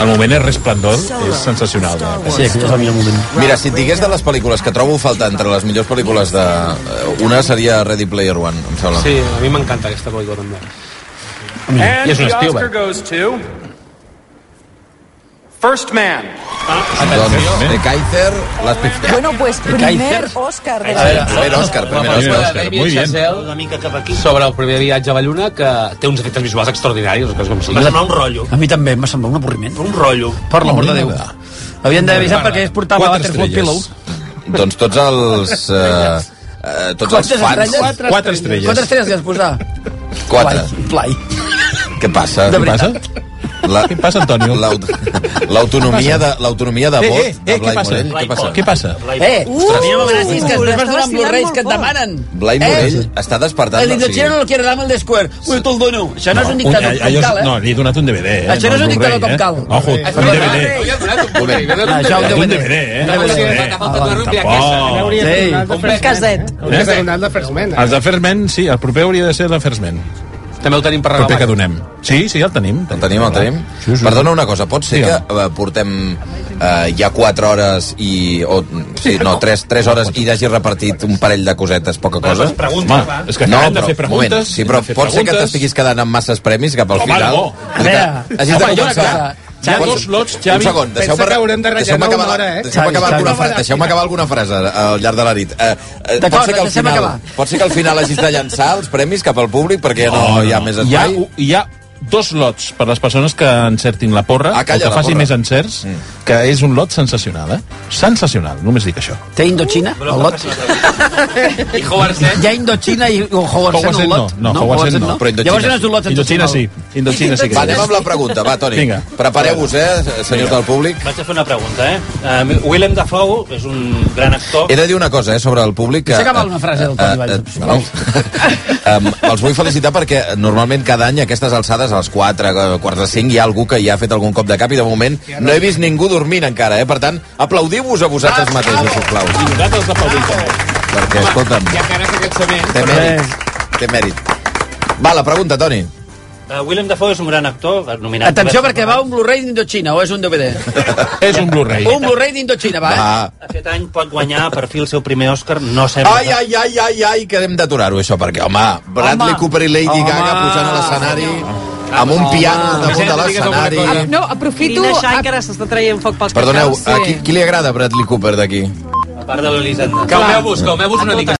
S7: El moment és resplendor, és sensacional. Eh?
S4: Pues Sí, aquell és el millor moment.
S8: Mira, si et digués de les pel·lícules que trobo falta entre les millors pel·lícules de... eh, Una seria Ready Player One, em sembla.
S14: Sí, a mi m'encanta aquesta pel·lícula també.
S8: Mm.
S12: And
S8: I és un
S12: the
S8: Spielberg.
S7: eh?
S12: Oscar goes to First Man.
S8: Doncs, De Kaiser, les pif-
S3: Bueno, pues
S8: primer
S3: Oscar
S8: de la- A veure, primer Òscar, primer
S14: La pel·lícula de
S8: Òscar,
S14: David
S8: muy bien.
S14: Chazelle
S5: Una mica cap aquí.
S14: sobre el primer viatge a la Lluna que té uns efectes visuals extraordinaris, les coses com siguin.
S4: M'ha semblat Em un rotllo. A mi també m'ha semblat un avorriment. Un
S14: rotllo.
S4: Per l'amor de Déu. Havien d'haver avisat
S8: Bueno,
S4: perquè es portava
S8: quatre
S4: Butterfly Pillow.
S8: estrelles. Doncs tots els... Eh, eh, tots els fans...
S4: Quatre estrelles li has posar.
S8: Quatre.
S4: Play.
S8: Què passa?
S4: De Què veritat.
S8: La... Què passa, Antonio? L'autonomia de, l'autonomia de
S7: Eh,
S8: vot
S7: eh, eh,
S8: de Blai
S7: què passa?
S8: Morell. Què passa?
S7: Què passa?
S4: Eh,
S8: Ostres,
S4: uh, gràcies, que
S8: ostres.
S4: després donar amb Blu-rays que et demanen. Eh?
S8: Blai Morell està despertant.
S4: El dictador no lo quiere dame el de Square. Ui, te'l dono. Això no és un dictador
S7: allò
S4: com
S7: és-
S4: cal, eh?
S7: No, li he donat un DVD, eh?
S4: Això no és un
S7: Blu-ray,
S4: dictador com
S7: eh?
S4: cal.
S7: Ojo, un DVD.
S4: Ah, Això un
S7: Un
S4: DVD.
S7: DVD, eh?
S4: Un DVD.
S7: Tampoc.
S4: Sí.
S10: Un caset. Hauries de donar el de First Man,
S7: Els Affairs Men, sí, el proper hauria de ser l'Affairs Men.
S14: També el tenim per
S7: regalar. Proper que donem. Sí, sí, el tenim.
S8: El tenim, el tenim.
S7: Sí, sí.
S8: Perdona una cosa, pot ser
S7: Digue'm.
S8: que eh, portem eh, ja 4 hores i... O, sí, no, 3, 3 hores i hagi repartit un parell de cosetes, poca cosa?
S7: les preguntes, Home, va. és que
S8: no,
S7: acabem de
S8: però,
S7: fer preguntes,
S8: moment, Sí, però
S7: hem de fer
S8: pot ser que
S7: preguntes.
S8: t'estiguis quedant amb masses premis cap al
S7: Home,
S8: final.
S7: no.
S8: I que
S7: A veure,
S8: Hagis de
S7: home, hi ha una
S8: començar.
S7: cosa. Hi ha
S8: Un
S7: dos
S8: segon,
S7: lots, Xavi.
S8: Un segon,
S7: Pensa
S8: deixeu-me
S7: que haurem de ratllar
S8: deixeu-me
S7: una
S8: acabar,
S7: hora, eh?
S8: deixeu
S7: Xavi,
S8: acabar,
S7: Xavi.
S8: alguna frase, deixeu acabar alguna frase eh, al llarg de la nit. Eh, eh, pot
S4: D'acord,
S8: ser que al
S4: deixem
S8: final,
S4: acabar.
S8: pot ser que al final hagis de llançar els premis cap al públic perquè ja no, no, hi ha més
S7: Hi ha,
S8: espai.
S7: hi ha dos lots per les persones que encertin la porra,
S8: Ah, calla,
S7: o que
S8: la
S7: faci
S8: porra. Mm.
S7: més encerts, que és un lot sensacional, eh? Sensacional, només dic això.
S4: Té Indochina, el lot?
S14: I Howard Zen.
S4: Hi ha Indochina i o Howard Zen, el lot?
S7: no, no, Howard Zen no.
S8: Però Indochina
S4: Llavors no és un lot
S7: Indochina sí.
S4: sensacional.
S7: Indochina sí. que
S8: Va,
S7: sí.
S8: anem amb la pregunta, va, Toni.
S7: Vinga.
S8: Prepareu-vos, eh, senyors del públic.
S5: Vaig a fer una pregunta, eh? Uh, Willem Dafoe és un gran actor.
S8: He de dir una cosa, eh, sobre el públic. Que, eh,
S5: Deixa acabar una frase del Toni Valls,
S8: no. um, els vull felicitar perquè normalment cada any a aquestes alçades, a les 4, eh, quarts de 5, hi ha algú que ja ha fet algun cop de cap i de moment no he vist ningú dormint encara, eh? Per tant, aplaudiu-vos a vosaltres
S5: Ah,
S8: mateixos, sisplau.
S7: I nosaltres l'aplaudim també.
S8: Perquè, escolta'm,
S14: Hi ha cares aquestsament.
S8: té mèrit. Té mèrit. Va, la pregunta, Toni.
S5: Uh, Willem Dafoe és un gran actor, nominat...
S4: Atenció perquè va un Blu-ray d'Indochina o és un DVD?
S7: és un Blu-ray.
S4: Un Blu-ray d'Indochina, va. eh?
S5: Aquest any pot guanyar per fi el seu primer Òscar, no sembla...
S8: Ai, ai, ai, ai, ai, que hem d'aturar-ho, això, perquè, home, Bradley
S5: Home.
S8: Cooper i Lady
S5: Home.
S8: Gaga pujant a l'escenari, amb un
S5: Home.
S8: piano al damunt de l'escenari...
S1: Ah, No, aprofito...
S24: Irina Shayk ara s'està traient foc pels
S8: Perdoneu,
S24: cacaus.
S8: a qui, qui li agrada Bradley Cooper d'aquí?
S30: part de l'Elisenda.
S5: Calmeu-vos, calmeu-vos una mica.